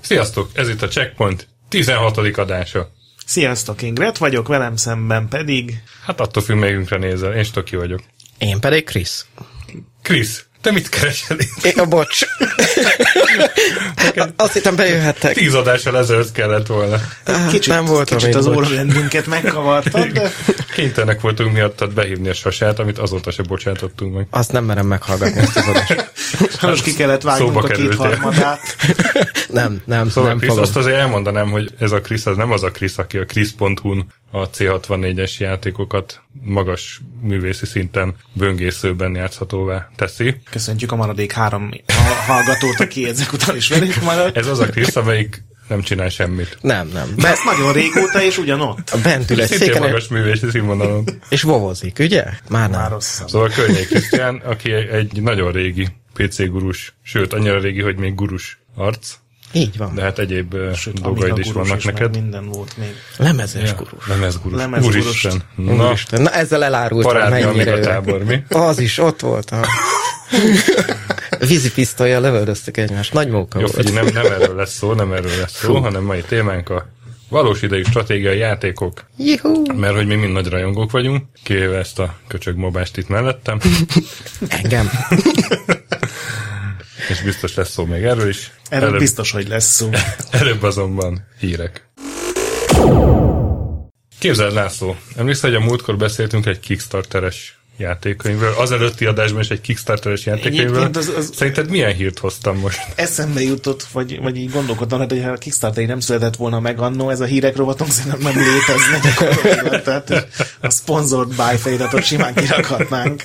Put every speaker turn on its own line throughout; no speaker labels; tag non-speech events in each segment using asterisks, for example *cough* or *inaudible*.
Sziasztok, ez itt a Checkpoint 16. adása.
Sziasztok, én Gret vagyok, velem szemben pedig...
Hát attól függ, melyikünkre nézel. Én Stoki vagyok.
Én pedig Krisz.
Krisz, te mit keresed itt?
É, bocs. Azt hittem bejöhettek.
Tíz adással ezelőtt kellett volna.
Hát,
Kicsit,
nem voltam
kicsit
én,
az
bocs.
órarendünket megkavartad, Hát de
Kénytelenek voltunk miattad behívni a sasát, amit azóta se bocsátottunk meg.
Azt nem merem meghallgatni ezt az adást.
most ki kellett vágnunk
Szóba
a
kerültél.
kétharmadát.
Nem, nem,
Szóval
nem
Krisz,
fogom.
azt azért elmondanám, hogy ez a Krisz, az nem az a Krisz, aki a Krisz.hu-n a C64-es játékokat magas művészi szinten böngészőben játszhatóvá teszi.
Köszöntjük a maradék három ha- hallgatót, aki ezek után is velünk maradt.
Ez az a Krisz, amelyik nem csinál semmit.
Nem, nem.
De
Be,
ezt nagyon régóta, és ugyanott.
bent ül egy
Szintén
széken,
magas művészi színvonalon.
és vovozik, ugye? Már nem.
Már rosszabb.
Szóval Környék Krisztián, aki egy nagyon régi PC gurus, sőt, annyira régi, hogy még gurus arc,
Így van.
de hát egyéb ö,
Sőt,
dolgaid
Amiga
is
gurus
vannak
is, meg
neked.
minden volt még.
Lemezes gurú.
Lemezgurus.
Lemezgurus.
Úristen. Na,
Úristen, Na, ezzel elárultam,
parádni a
mennyire
Amiga
öreg.
tábor, mi?
Az is, ott volt
*laughs*
a... Vízipisztolyjal lövöldöztük egymást. Nagy móka
Jó,
volt.
figyelj, nem, nem erről lesz szó, nem erről lesz szó, hanem mai témánk a valós idejű stratégiai játékok,
Juhú!
mert hogy mi mind nagy rajongók vagyunk, kivéve ezt a köcsög mobást itt mellettem,
Engem.
és biztos lesz szó még erről is.
Erről biztos, hogy lesz szó.
Előbb azonban hírek. Képzeld, László, emlékszel, hogy a múltkor beszéltünk egy Kickstarteres játékkönyvről, az előtti adásban is egy Kickstarteres játékkönyvről.
Egyébként az- az-
Szerinted milyen hírt hoztam most? *laughs*
Eszembe jutott, vagy, vagy így gondolkodtam, hát, hogy ha a Kickstarter nem született volna meg annó, ez a hírek rovatunk szerintem nem létezne gyakorlatilag. Tehát a sponsored by feliratot simán kirakhatnánk.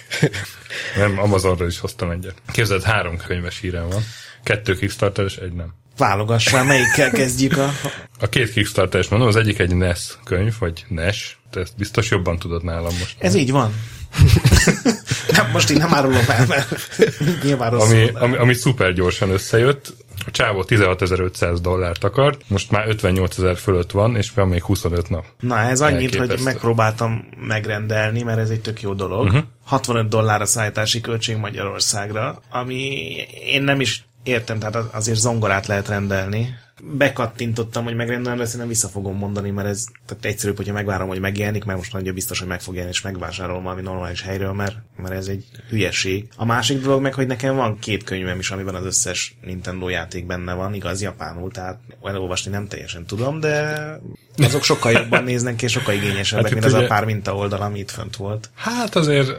Nem, Amazonról is hoztam egyet. Képzeld, három könyves hírem van. Kettő Kickstarteres, egy nem.
Válogass már, melyikkel kezdjük a...
A két Kickstarter-es mondom, az egyik egy NES könyv, vagy NES, te ezt biztos jobban tudod nálam most.
Ez így van. nem, most így nem árulom el, mert nyilván rosszul.
Ami, ami, ami szuper gyorsan összejött, a csávó 16.500 dollárt akart, most már 58.000 fölött van, és már még 25 nap.
Na, ez annyit, hogy
Elképesztő.
megpróbáltam megrendelni, mert ez egy tök jó dolog. Uh-huh. 65 dollár a szállítási költség Magyarországra, ami én nem is értem, tehát az- azért zongorát lehet rendelni. Bekattintottam, hogy megrendelem, de szerintem vissza fogom mondani, mert ez tehát egyszerűbb, hogyha megvárom, hogy megjelenik, mert most nagyja biztos, hogy meg fog jelenni, és megvásárolom valami normális helyről, mert, mert ez egy hülyeség. A másik dolog meg, hogy nekem van két könyvem is, amiben az összes Nintendo játék benne van, igaz, japánul, tehát elolvasni nem teljesen tudom, de azok sokkal jobban néznek ki, és sokkal igényesebbek,
Hát itt
hát, mint az a
ugye-
pár minta oldal, ami itt fönt volt.
Hát azért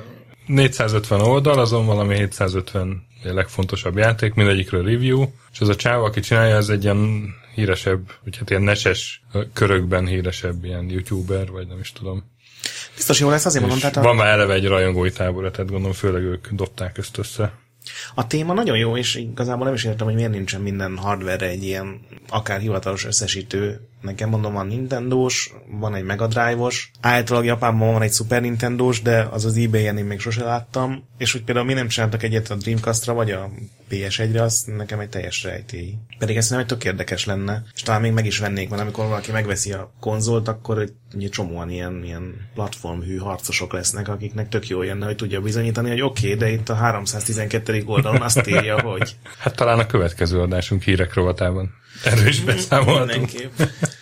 450 oldal, azon valami 750 a legfontosabb játék, mindegyikről review, és az a csáva, aki csinálja, ez egy ilyen híresebb, vagy hát ilyen neses ö, körökben híresebb, ilyen youtuber, vagy nem is tudom.
Biztos jó lesz, azért mondom,
És
tehát a,
van már eleve egy rajongói tábor, tehát gondolom főleg ők dobták ezt össze.
a téma nagyon jó, és igazából nem is értem, hogy miért nincsen minden hardware egy ilyen akár hivatalos összesítő. Nekem mondom, van Nintendo-s, van egy Mega Drive-os, általában Japánban van egy Super Nintendo-s, de az az ebay-en én még sose láttam, és hogy például mi nem csináltak egyet a Dreamcast-ra, vagy a PS1-re, az nekem egy teljes rejtély. Pedig ez nem egy tök érdekes lenne, és talán még meg is vennék, mert amikor valaki megveszi a konzolt, akkor egy- ugye csomóan ilyen, ilyen platformhű harcosok lesznek, akiknek tök jó jönne, hogy tudja bizonyítani, hogy oké, okay, de itt a 312. oldalon azt írja, hogy
Hát talán a következő adásunk hírek rovatában. Erről
*laughs*
is beszámoltunk.
mindenképp.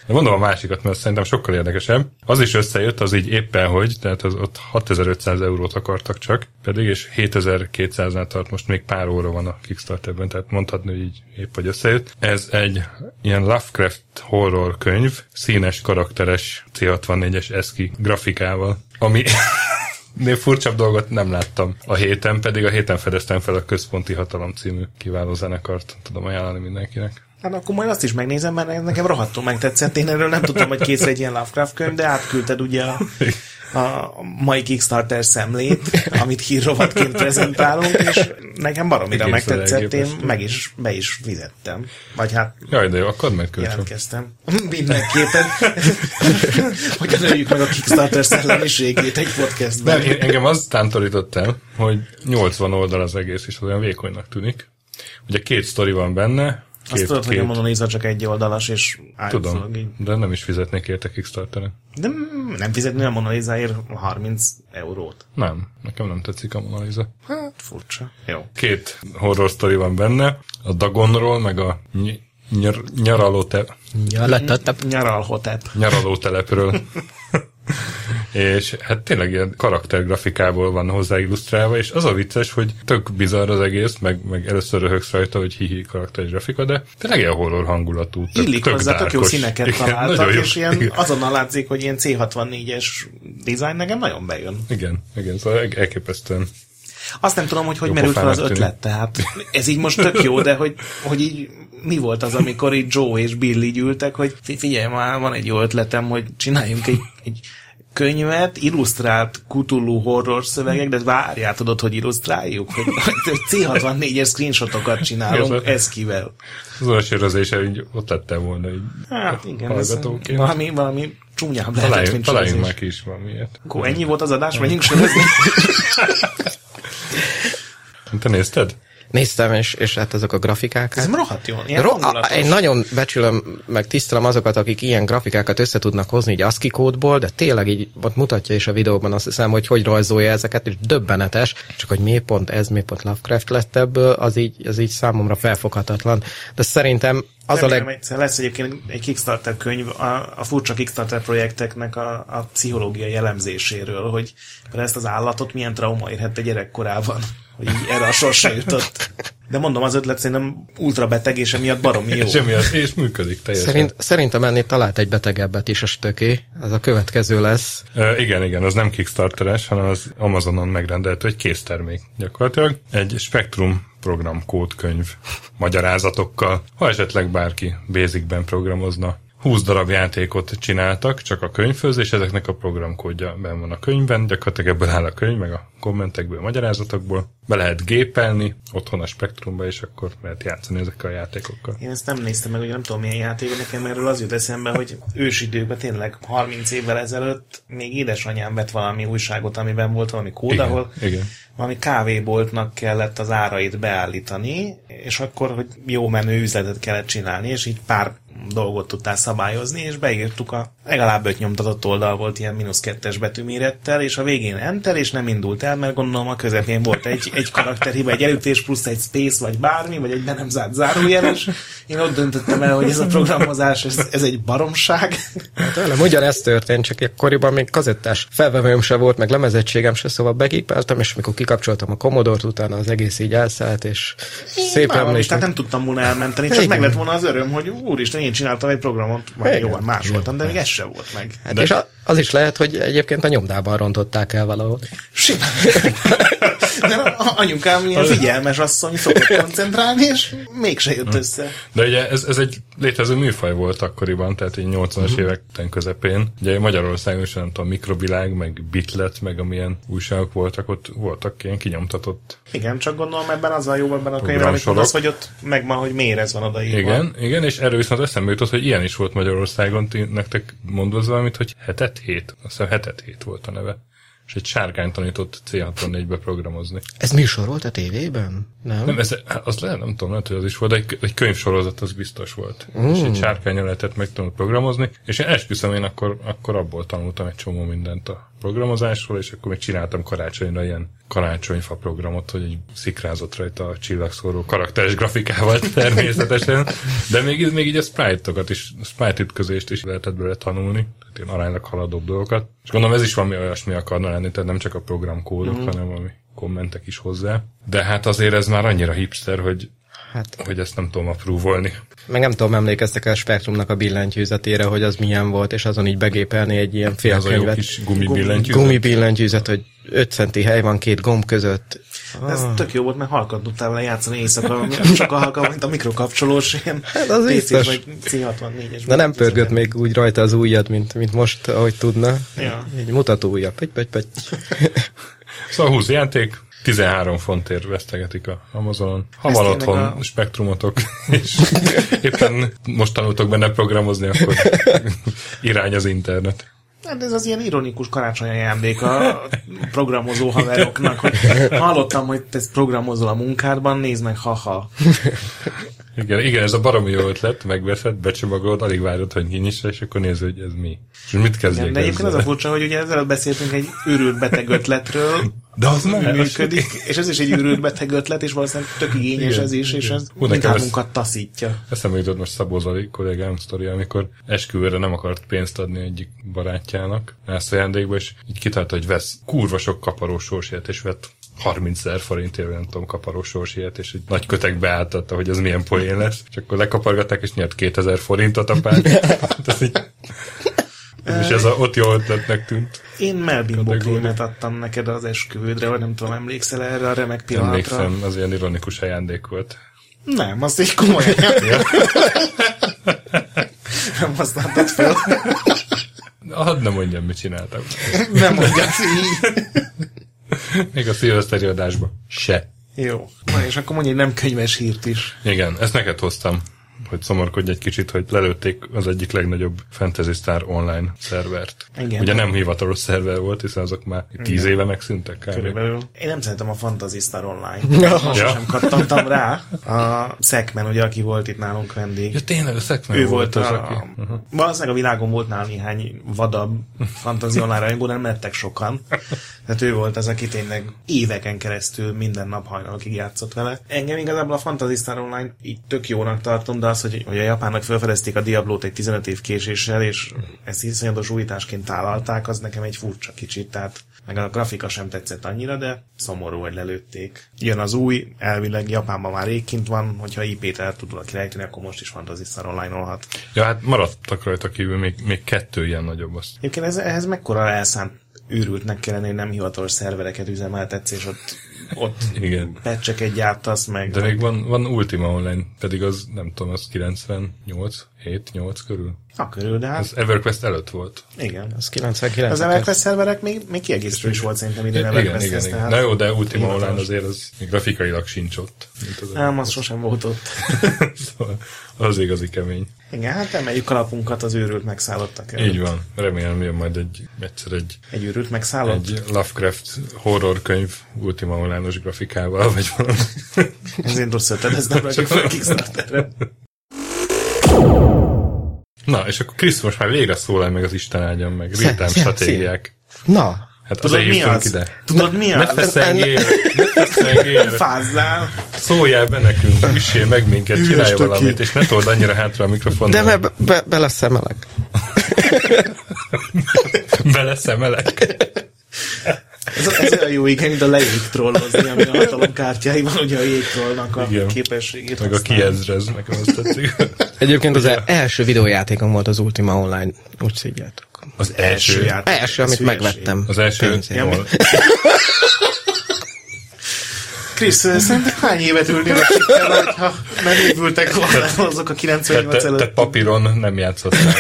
De mondom a másikat, mert szerintem sokkal érdekesebb. Az is összejött, az így éppen hogy, tehát az ott 6500 eurót akartak csak, pedig és 7200-nál tart, most még pár óra van a Kickstarterben, tehát mondhatni, hogy így épp hogy összejött. Ez egy ilyen Lovecraft horror könyv, színes, karakteres C64-es eszki grafikával, ami *laughs* Nél furcsább dolgot nem láttam. A héten pedig a héten fedeztem fel a Központi Hatalom című kiváló zenekart. Tudom ajánlani mindenkinek.
Hát akkor majd azt is megnézem, mert ez nekem rohadtul megtetszett. Én erről nem tudtam, hogy kész egy ilyen Lovecraft könyv, de átküldted ugye a a mai Kickstarter szemlét, amit hírrovatként prezentálunk, és nekem baromira
Egészen
megtetszett, én
elképesztő.
meg is, be is fizettem. Vagy hát
Jaj, de jó, akkor meg kölcsön.
jelentkeztem. *laughs* Mindenképpen, hogy nőjük meg a Kickstarter szellemiségét egy podcastben.
Nem, én, engem az tántorított el, hogy 80 oldal az egész, és az olyan vékonynak tűnik. Ugye két sztori van benne, két,
Azt tudod,
két,
hogy a Mona Lisa csak egy oldalas, és
tudom,
állítólag így.
de nem is fizetnék érte kickstarter
De nem fizetni a Mona Lisáért 30 eurót.
Nem, nekem nem tetszik a Mona Lisa.
Hát furcsa. Jó.
Két horror sztori van benne, a Dagonról, meg a ny- nyar- nyaraló, te-
Nyaralatatta.
Hát, Nyaralhotep.
nyaraló telepről. és hát tényleg ilyen karaktergrafikából van hozzá illusztrálva, és az a vicces, hogy tök bizarr az egész, meg, meg először röhögsz rajta, hogy hihi karaktergrafika, de tényleg ilyen horror hangulatú, tök,
Illik
tök
hozzá, tök jó
dárkos.
színeket
Igen,
találtak,
nagyon jó.
és ilyen,
Igen.
azonnal látszik, hogy ilyen C64-es dizájn nekem nagyon bejön.
Igen, igen, szóval el- elképesztően.
Azt nem tudom, hogy hogy
Jó
merült fel az
pofának
ötlet, tehát ez így most tök jó, de hogy, hogy így mi volt az, amikor így Joe és Bill így ültek, hogy fi- figyelj már, van egy jó ötletem, hogy csináljunk egy, egy könyvet, illusztrált Cthulhu horror szövegek, de várjál, tudod, hogy illusztráljuk, hogy hogy C64-es screenshotokat csinálunk,
Igazad.
ez kivel.
Az olyan sérözése, így ott lettem volna, így
Hát igen, ez
hallgatóként.
valami, valami csúnyább lehetett,
Találjunk,
mint
találjunk
sörözés.
már ki is valamiért.
Akkor ennyi volt az adás, menjünk sörözni.
*laughs*
Te nézted?
Néztem, és, és hát ezek a grafikák.
Ez
hát-
rohadt jó. Ilyen
Ro- a-
hangulatos.
én nagyon becsülöm, meg tisztelem azokat, akik ilyen grafikákat össze tudnak hozni így ASCII kódból, de tényleg így ott mutatja is a videóban azt hiszem, hogy hogy rajzolja ezeket, és döbbenetes, csak hogy mi pont ez, mi pont Lovecraft lett ebből, az így, az így számomra felfoghatatlan. De szerintem az a
Remélem,
leg...
egyszer lesz egyébként egy Kickstarter könyv a, a furcsa Kickstarter projekteknek a, a pszichológiai elemzéséről, hogy például ezt az állatot milyen trauma érhette gyerekkorában, hogy így erre a sorsa jutott. De mondom, az ötlet szerintem ultra beteg, és emiatt baromi jó.
És emiatt, és működik teljesen.
Szerint, szerintem ennél talált egy betegebbet is a stöki, ez a következő lesz.
Ö, igen, igen, az nem Kickstarteres, hanem az Amazonon megrendelhető egy késztermék gyakorlatilag. Egy Spectrum programkódkönyv magyarázatokkal. Ha esetleg bárki Basicben programozna, 20 darab játékot csináltak, csak a könyvhöz, és ezeknek a programkódja ben van a könyvben, gyakorlatilag ebből áll a könyv, meg a kommentekből, a magyarázatokból. Be lehet gépelni otthon a Spectrumba, és akkor lehet játszani ezekkel a játékokkal.
Én ezt nem néztem meg, hogy nem tudom milyen játék, nekem erről az jut eszembe, hogy ősidőkben tényleg 30 évvel ezelőtt még édesanyám vett valami újságot, amiben volt valami kód,
Igen,
ahol
igen.
valami kávéboltnak kellett az árait beállítani, és akkor, hogy jó menő üzletet kellett csinálni, és így pár dolgot tudtál szabályozni, és beírtuk a legalább öt nyomtatott oldal volt ilyen mínusz kettes betűmérettel, és a végén enter, és nem indult el, mert gondolom a közepén volt egy, egy karakterhiba, egy elütés plusz egy space, vagy bármi, vagy egy be nem zárt zárójel, és én ott döntöttem el, hogy ez a programozás, ez, ez egy baromság.
Tőlem ugyanez történt, csak akkoriban még kazettás felvevőm se volt, meg lemezettségem se, szóval begépeltem, és mikor kikapcsoltam a Commodore-t, utána az egész így elszállt, és szép
Vállalom is,
emlék.
tehát hát nem tudtam volna elmenteni, csak
Igen.
meg lett volna az öröm, hogy úristen, én csináltam egy programot, vagy
Igen.
jó, más voltam, de még ez sem volt meg.
Hát és a, az is lehet, hogy egyébként a nyomdában rontották el valahol.
*laughs* Simán. Mert a- a- anyukám ilyen figyelmes asszony szokott koncentrálni, és mégse
Hm.
jött össze.
De ugye ez, ez egy létező műfaj volt akkoriban, tehát így 80-as évek után közepén. Ugye Magyarországon is nem tudom, mikrovilág, meg bitlet, meg amilyen újságok voltak, ott voltak ilyen kinyomtatott.
Igen, csak gondolom ebben az a jó ebben a könyvben, amit
Programsorok.
mondasz, hogy ott megvan, hogy miért ez van odaírva.
Igen, igen, és erről viszont eszembe jutott, hogy ilyen is volt Magyarországon, ti, nektek mondva az valamit, hogy hetet hét, azt hiszem hetet hét volt a neve. És egy sárkány tanított C64-be programozni.
Ez műsor volt a tévében? Nem?
Nem, ez, az lehet, nem tudom, lehet, hogy az is volt, de egy, egy könyvsorozat az biztos volt. Mm. És egy sárkányon lehetett megtanulni programozni, és én esküszöm, én akkor, akkor abból tanultam egy csomó mindent a programozásról, és akkor még csináltam karácsonyra ilyen karácsonyfa programot, hogy egy szikrázott rajta a csillagszóró karakteres grafikával természetesen, de még, még így a sprite-okat is, sprite ütközést is lehetett belőle tanulni, tehát ilyen aránylag haladóbb dolgokat. És gondolom ez is valami olyasmi akarna lenni, tehát nem csak a programkódok, mm. hanem valami kommentek is hozzá. De hát azért ez már annyira hipster, hogy,
Hát,
hogy ezt nem tudom aprúvolni.
meg nem tudom, emlékeztek el a Spektrumnak a billentyűzetére, hogy az milyen volt, és azon így begépelni egy ilyen
Ez a jó
félkönyvet.
kis gumibillentyű.
Gumi billentyűzet, hogy 5 centi hely van két gomb között,
De ez tök jó volt, mert halkan tudtál vele játszani éjszaka, sokkal halkan, mint a mikrokapcsolós, ilyen
Hát az
PC-s
biztos.
vagy C64-es.
De nem pörgött még úgy rajta az ujjad, mint, mint most, ahogy tudna.
Ja.
Egy mutató ujja. Pöty, pöty, pöty.
Szóval 20 játék, 13 fontért vesztegetik a Amazonon. Ha
Ez
van
tényleg
otthon
a-
a... spektrumotok, és *laughs* éppen most tanultok benne programozni, akkor *laughs* irány az internet.
Hát ez az ilyen ironikus karácsony ajándék a programozó haveroknak, hogy hallottam, hogy te programozol a munkádban, nézd meg, haha.
Igen, igen, ez a baromi jó ötlet, megveszed, becsomagolod, alig várod, hogy kinyissa, és akkor nézed, hogy ez mi. És mit kezdjek
Igen, de egyébként az
ezzel?
a furcsa, hogy ugye ezzel beszéltünk egy őrült beteg ötletről,
De az
nem
nem
működik, és ez is egy őrült beteg ötlet, és valószínűleg tök igényes
Igen,
ez is, és
igen.
ez
Hú, nekem ez-
mindhármunkat taszítja.
Eszembe jutott most Szabó Zali kollégám sztoria, amikor esküvőre nem akart pénzt adni egyik barátjának, ezt ajándékba, és így kitalálta, hogy vesz kurva sok kaparós sósért, és vett 30 ezer forintért, vagy nem tudom, kaparós sósért, és egy nagy kötekbe álltatta, hogy az milyen poén lesz, és akkor lekapargatták, és nyert 2000 forintot a pár. Hát ez így... És ez a, ott jó ötletnek tűnt.
Én Melbin
Kategória.
Bokrémet adtam neked az esküvődre, vagy nem tudom, emlékszel erre a remek pillanatra?
Emlékszem, az ilyen ironikus ajándék volt.
Nem, az egy komoly. nem használtad fel.
Hadd nem mondjam, mit csináltam.
Nem mondjad így.
Még a szilveszteri adásban se.
Jó. Na és akkor mondj egy nem könyves hírt is.
Igen, ezt neked hoztam, hogy szomorkodj egy kicsit, hogy lelőtték az egyik legnagyobb Fantasy Star online szervert.
Igen.
Ugye nem hivatalos szerver volt, hiszen azok már tíz éve megszűntek kb.
Körülbelül. Én nem szeretem a Fantasy Star Online. Most
Ja.
sem kattantam rá. A Szekmen, ugye, aki volt itt nálunk vendég.
Ja tényleg, a Szekmen
Ő volt
az,
a,
aki...
Valószínűleg a világon volt nála néhány vadabb fantazionál rajongó, nem lettek sokan. Tehát ő volt az, aki tényleg éveken keresztül minden nap hajnalokig játszott vele. Engem igazából a Fantasy Star Online így tök jónak tartom, de az, hogy, hogy a japánok felfedezték a Diablót egy 15 év késéssel, és ezt iszonyatos újításként tálalták, az nekem egy furcsa kicsit. Tehát meg a grafika sem tetszett annyira, de szomorú, hogy lelőtték. Jön az új, elvileg Japánban már rég kint van, hogyha IP-t el tud valaki rejteni, akkor most is Fantasy Star Online olhat.
Ja, hát maradtak rajta kívül még, még kettő ilyen nagyobb azt.
Egyébként ez, ehhez mekkora elszánt őrültnek kellene, hogy nem hivatalos szervereket üzemeltetsz, és ott, ott
Igen.
pecseket gyártasz meg.
De még van, van Ultima Online, pedig az, nem tudom, az 98, 7, 8 körül.
Na körül, de hát
Az EverQuest előtt volt.
igen.
Az 99
Az Everquest szerverek még, még kiegészítő is volt szerintem idén
igen,
Everquest
igen,
ez,
igen.
tehát
Na jó, de Ultima
hivatalos.
Online azért az még grafikailag sincs ott. Mint az
Nem, az sosem volt ott.
*laughs* Szóval az igazi kemény.
Igen, hát emeljük alapunkat az őrült megszállottak előtt.
Így van. Remélem jön majd egy, egyszer egy,
Egy őrült megszállott?
egy Lovecraft horrorkönyv ultima online grafikával, *laughs* vagy valami.
Ez én rossz ötlet, ez nem rakjuk fel a Kickstarterre.
Na, és akkor Krisz most már végre szólal meg az Isten áldjon meg.
Szia,
Ritám
szia,
stratégiák.
*laughs* Na,
Hát azért
Tudod mi
hívtunk
az?
ide.
Tudod mi
Ne
az?
feszengjél! Ne feszengjél!
Fázzál!
Szóljál be nekünk, üssél meg minket,
Üres
csinálj
töki.
valamit, és ne told annyira hátra a
de
mikrofonnal.
be, be, be lesz emelek.
beleszemelek.
Ez, ez olyan jó, igen, mint a leég trollozni, ami a hatalomkártyáiban, ugye a jégtrollnak a
Igen.
képességét
Meg a kiezrez, nekem azt tetszik.
Egyébként az el- első videójátékom volt az Ultima Online, úgy szívjátok.
Az
első
első.
játék.
Első, amit
Ez hülyeség.
megvettem.
Az első.
Pénzért.
Jól.
Krisz, szerintem hány évet ülnél a sikkel, hogyha megépültek volna azok a
Te,
98
te, te
előtt?
papíron nem játszottál.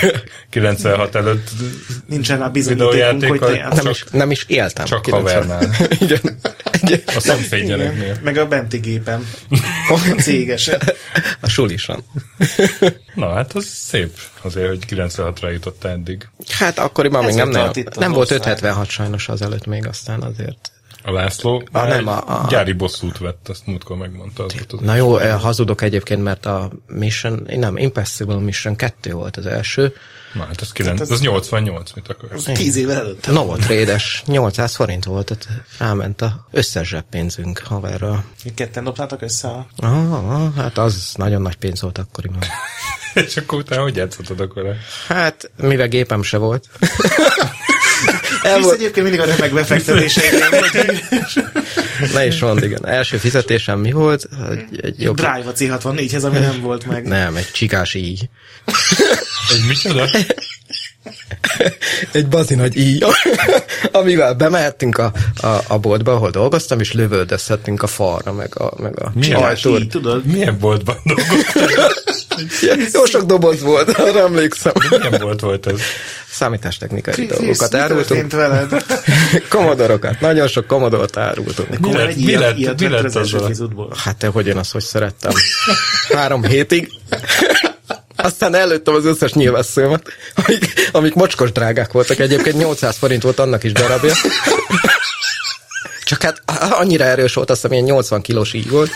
96 előtt
Nincsen rá bizonyítékunk, hogy te
videójátékkal
hát Nem,
játszasz.
is, nem is éltem.
Csak
90.
havernál.
*laughs* Igen. Egy-
a szemfényereknél.
Meg a benti gépen.
*laughs*
A cégesen.
A *laughs* sulisan.
Na hát az szép azért, hogy 96-ra jutott eddig.
Hát akkoriban
Ez
még nem,
volt
nem,
itt az
nem volt
ország.
576 sajnos azelőtt még aztán azért.
A László
A,
már
nem, a- a-
gyári bosszút vett, azt múltkor megmondta. Az volt az
Na jó, eh, hazudok egyébként, mert a Mission, nem, Impossible Mission 2 volt az első.
Na hát az, 9, az 88, mit akarsz? *laughs*
Tíz évvel előtt.
Novotrades, 800 forint volt, tehát ráment a összes zseppénzünk haverra.
Mi Ketten dobtátok össze a...
Ah, ah, hát az nagyon nagy pénz volt akkoriban.
És akkor utána hogy játszottad akkor?
Hát, mivel gépem se volt. El
Krisz
volt,
egyébként mindig a remek
*laughs*
befektetéseidben volt. hogy
ne is mond, igen. Első fizetésem mi volt? Egy, egy jobb...
Drive a C64-hez, ami nem volt meg.
Nem, egy csikás így.
Egy micsoda?
egy bazi nagy íj, *laughs* amivel bemehettünk a, a, a boltba, ahol dolgoztam, és lövöldözhettünk a falra, meg a, meg a
Így,
ajtóra.
tudod?
Milyen boltban dolgoztam?
Jó sok doboz volt, *laughs* arra emlékszem.
Milyen bolt volt ez?
Számítástechnikai
Krisz,
dolgokat
mi
árultunk.
történt veled?
Komodorokat, nagyon sok komodort árultunk.
Mi
Komolyan
lett-
egy
mi
ilyet-
lett-
ilyet
mi
vettél
lett
az első
azzal?
kézútból?
Hát te, hogy én azt hogy szerettem? Három hétig. Aztán előttem az összes nyilvesszőmet, amik, amik mocskos drágák voltak. Egyébként 800 forint volt annak is darabja. Csak hát annyira erős volt, azt hiszem ilyen 80 kilós így volt,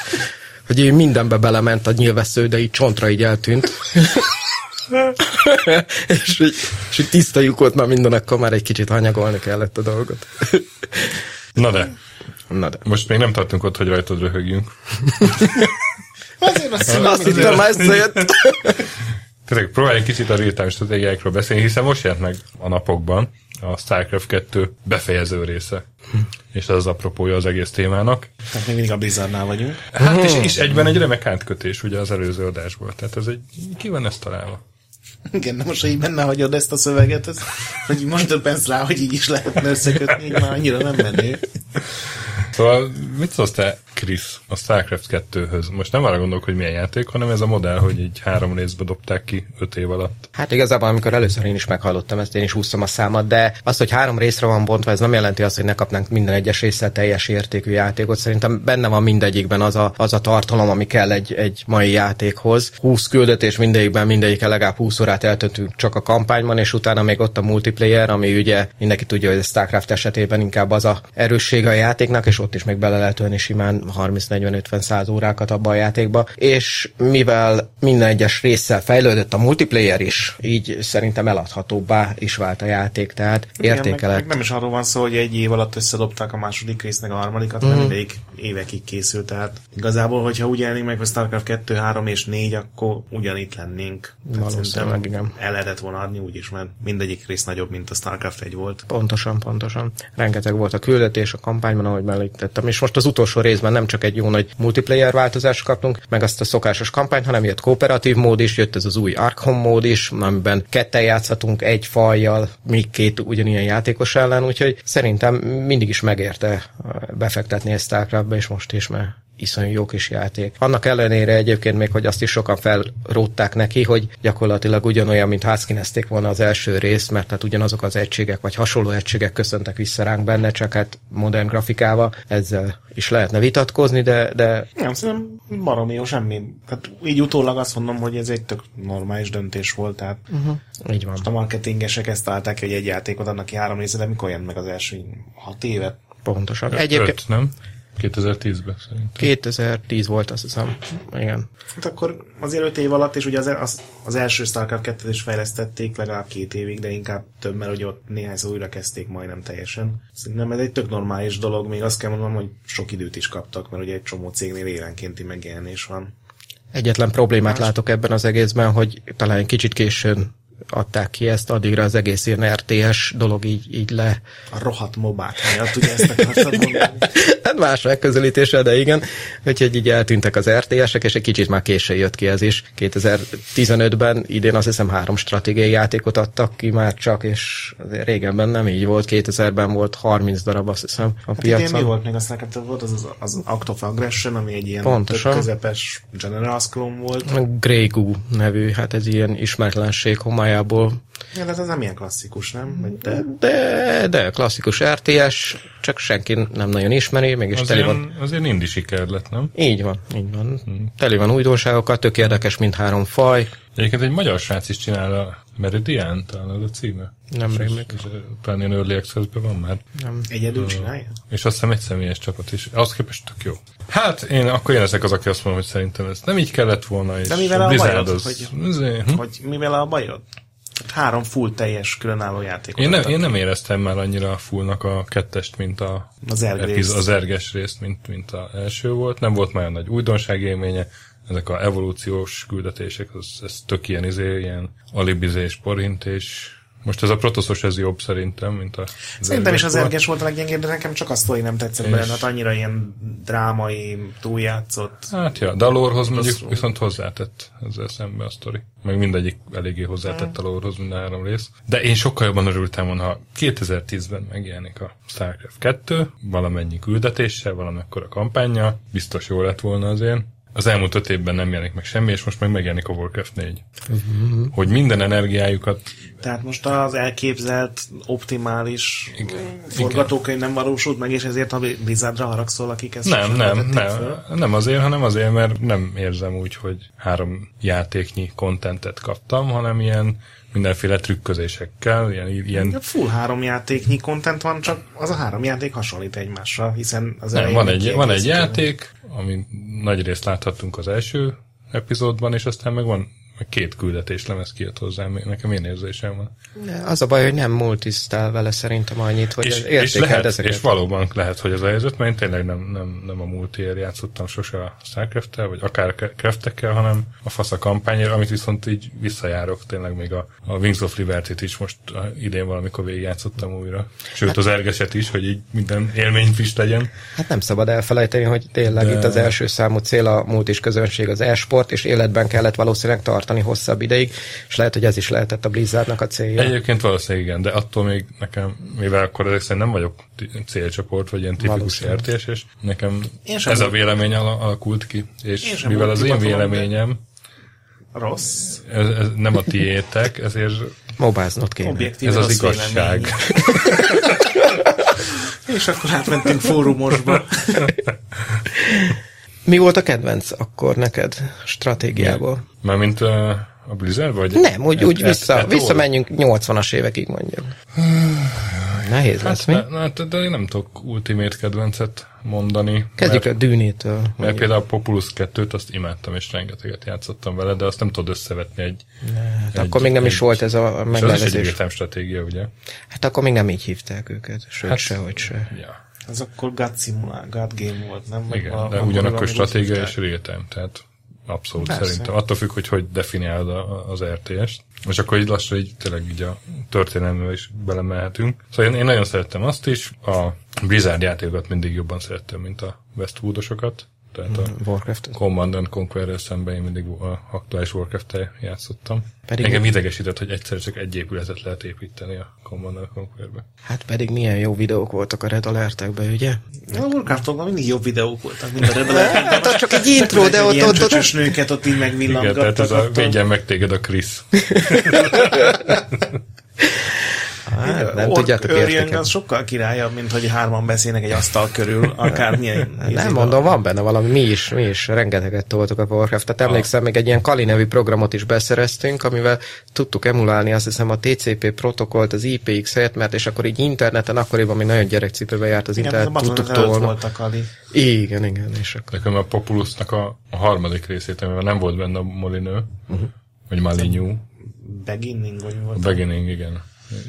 hogy így mindenbe belement a nyilvessző, de így csontra így eltűnt. és, így, és így tiszta lyuk volt már minden, akkor már egy kicsit hanyagolni kellett a dolgot.
Na de,
Na de.
most még nem tartunk ott, hogy rajtad röhögjünk.
Azért azt mondom,
Azt hittem, már összejött.
Tehát próbálj egy kicsit a real-time stratégiákról beszélni, hiszen most jelent meg a napokban a StarCraft 2 befejező része. És ez az apropója az egész témának.
Tehát Hát még mindig a bizarnál vagyunk.
Hát és, és egyben egy remek átkötés ugye az előző adásból. Tehát ez egy, ki van ezt találva?
Igen, de most, hogy így benne hagyod ezt a szöveget, ez, hogy most döbbensz rá, hogy így is lehetne összekötni, így már annyira nem menő.
Szóval mit szólsz te, Krisz, a StarCraft 2-höz? Most nem arra gondolok, hogy milyen játék, hanem ez a modell, hogy így három részbe dobták ki öt év alatt.
Hát igazából, amikor először én is meghallottam ezt, én is húztam a számat, de az, hogy három részre van bontva, ez nem jelenti azt, hogy ne kapnánk minden egyes része teljes értékű játékot. Szerintem benne van mindegyikben az a, az a tartalom, ami kell egy, egy mai játékhoz. 20 küldetés mindegyikben, mindegyikkel legalább 20 órát eltöltünk csak a kampányban, és utána még ott a multiplayer, ami ugye mindenki tudja, hogy a StarCraft esetében inkább az a erőssége a játéknak, és ott is még bele lehet ölni simán 30-40-50-100 órákat abban a játékba. És mivel minden egyes résszel fejlődött a multiplayer is, így szerintem eladhatóbbá is vált a játék, tehát
Igen, meg,
értékelet.
meg nem is arról van szó, hogy egy év alatt összedobták a második résznek a harmadikat, hanem
Mhm.
ideig évekig készült. Tehát igazából, hogyha úgy jelenik meg, hogy StarCraft 2, 3 és 4, akkor ugyanitt lennénk. Tehát
Valószínűleg,
szerintem
igen.
El lehetett volna adni úgyis, mert mindegyik rész nagyobb, mint a StarCraft 1 volt.
Pontosan, pontosan. Rengeteg volt a küldetés a kampányban, ahogy melléktettem. És most az utolsó részben nem csak egy jó nagy multiplayer változást kaptunk, meg azt a szokásos kampányt, hanem jött kooperatív mód is, jött ez az új Arkham mód is, amiben ketten játszhatunk egy fajjal, még két ugyanilyen játékos ellen, úgyhogy szerintem mindig is megérte ö, befektetni ezt Starcraftba, és most is, mert iszonyú jó kis játék. Annak ellenére egyébként még, hogy azt is sokan felrótták neki, hogy gyakorlatilag ugyanolyan, mint házkinezték volna az első részt, mert hát ugyanazok az egységek, vagy hasonló egységek köszöntek vissza ránk benne, csak hát modern grafikával ezzel is lehetne vitatkozni, de, de
Nem, szerintem baromi jó, semmi. Tehát így utólag azt mondom, hogy ez egy tök normális döntés volt, tehát uh-huh.
így van.
a marketingesek ezt találták ki, hogy egy játékot adnak ki három része, de mikor jön meg az első így hat évet?
Pontosan.
Egyébként...
Egyébként
Öt, nem? 2010-ben szerintem.
2010 volt, azt hiszem. Igen.
Hát akkor azért öt év alatt, és ugye az, az, az első StarCraft 2 is fejlesztették legalább két évig, de inkább több, mert hogy ott néhányszor újra kezdték majdnem teljesen. Szerintem ez egy tök normális dolog, még azt kell mondanom, hogy sok időt is kaptak, mert ugye egy csomó cégnél élenkénti megjelenés van.
Egyetlen problémát látok ebben az egészben, hogy talán egy kicsit későn adták ki ezt, addigra az egész ilyen RTS dolog így, így le,
A rohadt mobák miatt, ugye ezt akartad mondani?
Hát más megközelítéssel, de igen. Úgyhogy így eltűntek az RTS-ek, és egy kicsit már későn jött ki ez is. 2015-ben idén azt hiszem három stratégiai játékot adtak ki már csak, és azért régebben nem így volt. 2000-ben volt 30 darab, azt hiszem, a
Hát idén mi
piacon.
volt még a StarCraft volt? Az, az, az Act of Aggression, ami egy ilyen
Pontosan.
tök közepes General Scrum volt.
Grey Goo nevű, hát ez ilyen ismeretlenség homályából.
Ja, de ez nem ilyen klasszikus, nem? Vagy De
De, de klasszikus RTS, csak senki nem nagyon ismeri, mégis
Az
teli van.
ilyen, az ilyen indi siker lett, nem?
Így van, így van.
Hmm.
Teli van újdonságokkal, tök érdekes mind három faj.
Egyébként egy magyar srác is csinál a Meridian, talán az a címe.
Nem
És-
rémlik.
és, ö, Talán ilyen early access van már. Hmm.
egyedül csinálja?
És azt hiszem egy személyes csapat is. Ahhoz képest tök jó. Hát én akkor én leszek az, aki azt mondom, hogy szerintem ez nem így kellett volna, és
De mivel a bajod,
az...
hogy-
Izé, hm?
Vagy mivel a bajod? Hát Három full teljes különálló játékot.
Én nem,
adtak.
én nem éreztem már annyira a fullnak a kettest, mint a
Az erg részt.
az erges részt, mint, mint a első volt. Nem volt már olyan nagy újdonság élménye. Ezek a evolúciós küldetések, az, ez tök ilyen, izé, ilyen alibizés, porintés, Most ez a protoszos ez jobb szerintem, mint a...
Szerintem is az erges volt a leggyengébb, de nekem csak a sztori nem tetszett belőle, hát annyira ilyen drámai, túljátszott.
Hát ja, de a lórhoz mondjuk viszont hozzátett ezzel szembe a sztori. Meg mindegyik eléggé hozzátett a lórhoz, mind a három rész. De én sokkal jobban örültem volna, ha 2010-ben megjelenik a StarCraft 2, valamennyi küldetéssel, valamekkora kampánya, biztos jó lett volna az én. Az elmúlt öt évben nem jelenik meg semmi, és most meg megjelenik a Warcraft 4. Hogy minden energiájukat
Tehát most az elképzelt, optimális forgatókönyv nem valósult meg, és ezért a Blizzardra haragszol, akik ezt
Nem,
sosem
nem,
vetették
nem,
föl.
nem azért, hanem azért, mert nem érzem úgy, hogy három játéknyi kontentet kaptam, hanem ilyen mindenféle trükközésekkel, ilyen, ilyen
De Full három játéknyi content van, csak az a három játék hasonlít egymásra, hiszen az
nem,
elején
van,
még
egy, van egy
kiegészítő.
játék, amit nagy részt láthattunk az első epizódban, és aztán meg van meg két küldetés lemez kijött hozzá, nekem ilyen érzésem van.
Az a baj, hogy nem multisztál vele szerintem annyit, hogy
és, és,
értékeld
lehet,
ezeket.
és valóban lehet, hogy ez a helyzet, mert én tényleg nem, nem, nem a multiért játszottam sose a starcraft vagy akár ke- craftekkel, hanem a fasz a kampányért, amit viszont így visszajárok, tényleg még a, a Wings of Liberty-t is most a- idén valamikor végigjátszottam újra. Sőt, az ergeset is, hogy így minden élményt is legyen.
Hát nem szabad elfelejteni, hogy tényleg De... itt az első számú cél a múlt is közönség az e-sport, és életben kellett valószínűleg tartani hosszabb ideig, és lehet, hogy ez is lehetett a Blizzardnak a célja. Egy...
Egyébként valószínűleg igen, de attól még nekem, mivel akkor ezek szerint nem vagyok ti- célcsoport, vagy ilyen tipikus
Valószínű.
értés, és nekem
Én sem
ez a
volt-
vélemény ala- alakult ki,
Én
és
sem
mivel
volt
az én
divatalom, de-
véleményem,
Rossz.
ez, ez nem a tiétek, ezért
Mobáznod kéne.
Objektív
ez az
rossz
igazság.
vélemény. És akkor átmentünk fórumosba.
Mi volt a kedvenc akkor neked stratégiából?
Mármint uh, a Blizzard vagy?
Nem, úgy, úgy
Et-
vissza,
Etol?
visszamenjünk 80-as évekig mondjuk. Nehéz lesz, mi?
Hát, hát, de én nem tudok ultimate kedvencet mondani.
Kezdjük
mert,
a dűnétől.
mert például a Populus 2-t azt imádtam, és rengeteget játszottam vele, de azt nem tudod összevetni egy...
Hát akkor még nem is volt ez a
És az is egy
megnevezés.
egyetem stratégia, ugye?
Hát akkor még nem így hívták őket, sőt hát, sehogy se.
Ja.
Ez akkor God, simulá, God Game volt, nem? Vagy
Igen,
val-
de
vagy
ugyanakkor
valami
stratégia
úgy
és real time, tehát abszolút
Persze.
Persze. szerintem. Attól függ, hogy hogy definiálod a- a- az RTS-t. És akkor így lassan így tényleg így a történelmbe is belemehetünk. Szóval én, én nagyon szerettem azt is, a Blizzard játékokat mindig jobban szerettem, mint a Westwoodosokat. Tehát
Mhm.
a
Warcraft.
Command and Conquer-rel szemben én mindig a aktuális Warcraft-tel játszottam.
Pedig-
Pedig Engem idegesített, hogy egyszer csak egy épületet lehet építeni a Command and Conquer-be.
Hát pedig milyen jó videók voltak a Red Alertekben, ugye?
A Warcraftokban mindig jobb videók voltak, mint a Red Alert.
Hát az csak egy intro, de ott,
Ilyen
ott, ott,
csöcsös nőket ott így
Igen,
megvillangattak.
tehát ez a
attól.
védjen meg téged a Krisz.
hát, nem
Ork
tudjátok
Örjöng
értékelni.
az sokkal királyabb, mint hogy hárman beszélnek egy asztal körül, akármilyen. izé-
Nem
izével.
mondom, van benne valami, mi is, mi is rengeteget toltuk a Warcraft. Tehát emlékszem, még egy ilyen Kali nevű programot is beszereztünk, amivel tudtuk emulálni azt hiszem a TCP protokollt, az IPX helyett, mert és akkor így interneten, akkoriban még nagyon gyerekcipőben járt az
Igen, ez a
internet, tudtuk
Battle előtt
tolni.
volt a Kali.
Igen, igen, és akkor.
Nekem a Populusnak a, a harmadik részét, amiben nem volt benne a Molinő, uh-huh. vagy Malinyú,
Beginning, vagy mi
a
volt.
Beginning, igen.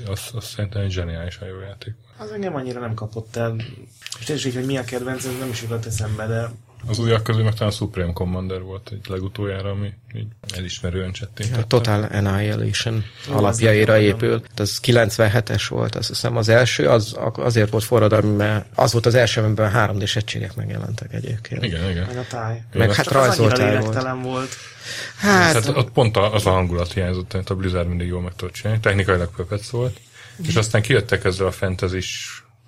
Azt, azt szerintem egy zseniális a jó játék.
Az engem annyira nem kapott el. És tényleg így, hogy mi a kedvenc, ez nem is jutott eszembe, de
Az újak közül meg talán Supreme Commander volt egy legutoljára, ami így elismerően csettintett.
A Total Annihilation alapjaira épül. Az 97-es volt, azt hiszem az első, az azért volt forradalmi, mert az volt az első, amiben 3D-s egységek megjelentek egyébként.
Igen, igen.
meg a táj.
Meg hát
Csak az annyira
rajzoltál volt.
lélektelen volt.
Hát,
Tehát ott pont a- az a hangulat hiányzott, amit a Blizzard mindig jól meg tudott csinálni. Technikailag Puppets volt. És aztán kijöttek ezzel a fantasy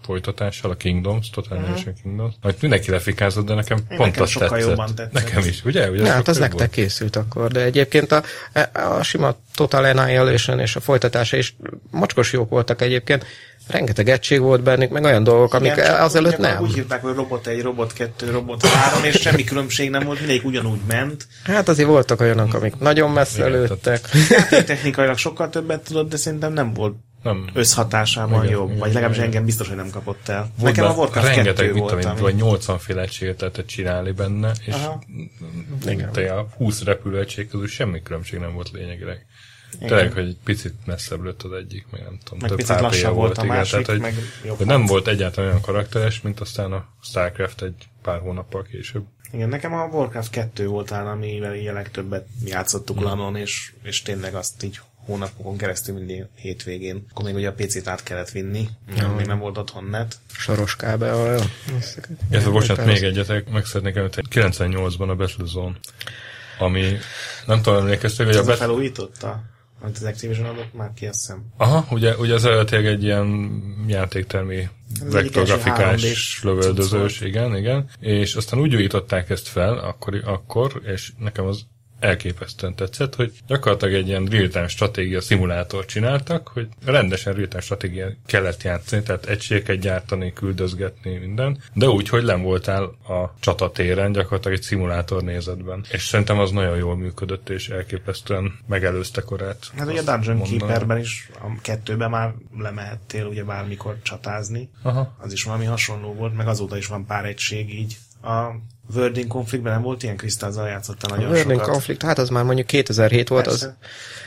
folytatással, a Kingdoms, Total Annihilation Kingdoms. Amit mindenki lefikázott, de nekem pont
nekem
azt
sokkal
tetszett.
jobban tetszett.
Nekem is, ugye? ugye
Ja, hát
sokkal
az
jobb
nektek készült akkor, de egyébként a, e, a sima Total Annihilation és a folytatása is mocskos jók voltak egyébként. Rengeteg egység volt bennük, meg olyan dolgok, amik
Igen, csak
azelőtt
gyakran
nem.
Úgy hívták, hogy robot 1, robot 2, robot 3, és semmi különbség nem volt, mindegyik ugyanúgy ment.
Hát azért voltak olyanok, amik nagyon messze
Igen,
lőttek.
Hát Technikailag sokkal többet tudott, de szerintem nem volt
Nem.
összhatásában
Igen,
jobb,
igen,
vagy legalábbis
igen.
engem biztos, hogy nem kapott el.
Volt
Nekem a
benne
Warcraft 2
rengeteg, mit
volt,
tudom, én,
ami...
vagy 80 féle egységet lehetett csinálni benne, és
Aha.
Igen. Te a 20 repülőegység közül semmi különbség nem volt lényegileg. Tényleg, hogy egy picit messzebb lőtt az egyik, meg nem tudom,
Meg
több
picit
HP-ja
lassabb volt a másik,
tehát, hogy
meg jobb
de nem volt egyáltalán olyan karakteres, mint aztán a Starcraft egy pár hónappal később.
Igen, nekem a
Mm.
Warcraft 2 volt talán, amivel így a legtöbbet játszottuk hmm. Lanon, és, és tényleg azt így hónapokon keresztül mindig hétvégén. Akkor még ugye a PC-t át kellett vinni, ja. még nem volt otthon net.
Soros kábel. jó.
Ez a bocsánat, még egyetek, meg szeretnék említeni. 98-ban a Battlezone, ami nem tudom, emlékeztek, hogy a
Ez a
Battle
felújította, amit az Activision adott már ki, azt hiszem.
Aha, ugye, ugye az eredetileg egy ilyen játéktermi
egyik első 3D-s
vektorgrafikás lövöldözős,
cucc
igen, igen. És aztán úgy újították ezt fel, akkor, akkor és nekem az elképesztően tetszett, hogy gyakorlatilag egy ilyen real-time stratégia szimulátort csináltak, hogy rendesen real-time stratégia kellett játszani, tehát egységeket gyártani, küldözgetni, minden, de úgy, hogy nem voltál a csatatéren, gyakorlatilag egy szimulátor nézetben. És szerintem az nagyon jól működött, és elképesztően megelőzte korát.
Hát ugye a
Azt
Dungeon
mondanám.
Keeperben is, a kettőben már lemehettél ugye bármikor csatázni.
Aha.
Az is valami hasonló volt, meg azóta is van pár egység így. A Wording konfliktben nem volt ilyen kristázzal játszottál nagyon
Burning
sokat.
Conflict, hát az már mondjuk 2007 volt, az,
Persze.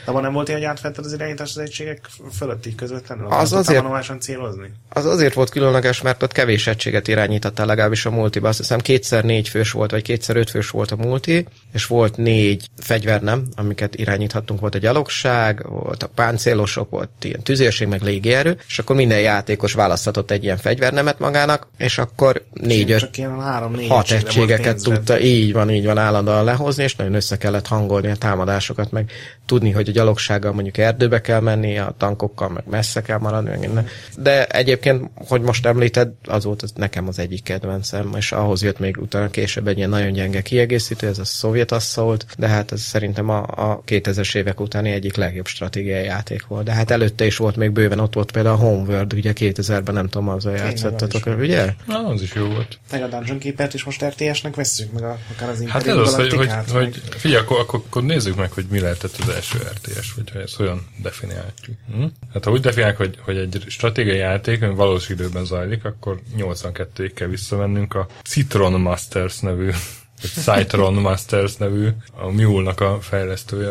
De abban nem volt ilyen, hogy átvetted az irányítást az egységek fölött így közvetlenül?
Az
Nem
azért-
tudtál manuálisan célozni?
az azért volt különleges, mert ott kevés egységet irányítottál legalábbis a multiba. Azt hiszem kétszer négy fős volt, vagy kétszer öt fős volt a multi, és volt négy fegyver, nem, amiket irányíthattunk. Volt a gyalogság, voltak páncélosok, volt ilyen tüzérség, meg légierő, és akkor minden játékos választhatott egy ilyen fegyvernemet magának, és akkor négy öt
Csak ilyen három-négy
hat
egységre volt
egységeket
pénzed.
tudta, így van, így van állandóan lehozni, és nagyon össze kellett hangolni a támadásokat, meg tudni, hogy a gyalogsággal mondjuk erdőbe kell menni, a tankokkal meg messze kell maradni, meg innen. De egyébként, hogy most említed, az volt az nekem az egyik kedvencem, és ahhoz jött még utána később egy ilyen nagyon gyenge kiegészítő, ez a Szovjet Assault, de hát ez szerintem a, a 2000-es évek utáni egyik legjobb stratégiai játék volt. De hát előtte is volt még bőven, ott volt például a Homeworld, ugye 2000-ben, nem tudom, azzal játszottatok, ugye?
Na, az is jó volt.
Meg a Dungeon Keeper-t is most RTS-nek vesszük, meg a, akár az
Hát
Imperium
ez az, hogy, hogy,
Galacticát, meg-
hogy figyelj, akkor, akkor, akkor nézzük meg, hogy mi lehetett az első RTS, hogyha ezt olyan definiáljuk. Hm? Hát ha úgy definiálják, hogy, hogy egy stratégiai játék, ami valós időben zajlik, akkor 82-ig kell visszamennünk a Citron Masters nevű vagy Citron Masters nevű, a Mule-nak a fejlesztője,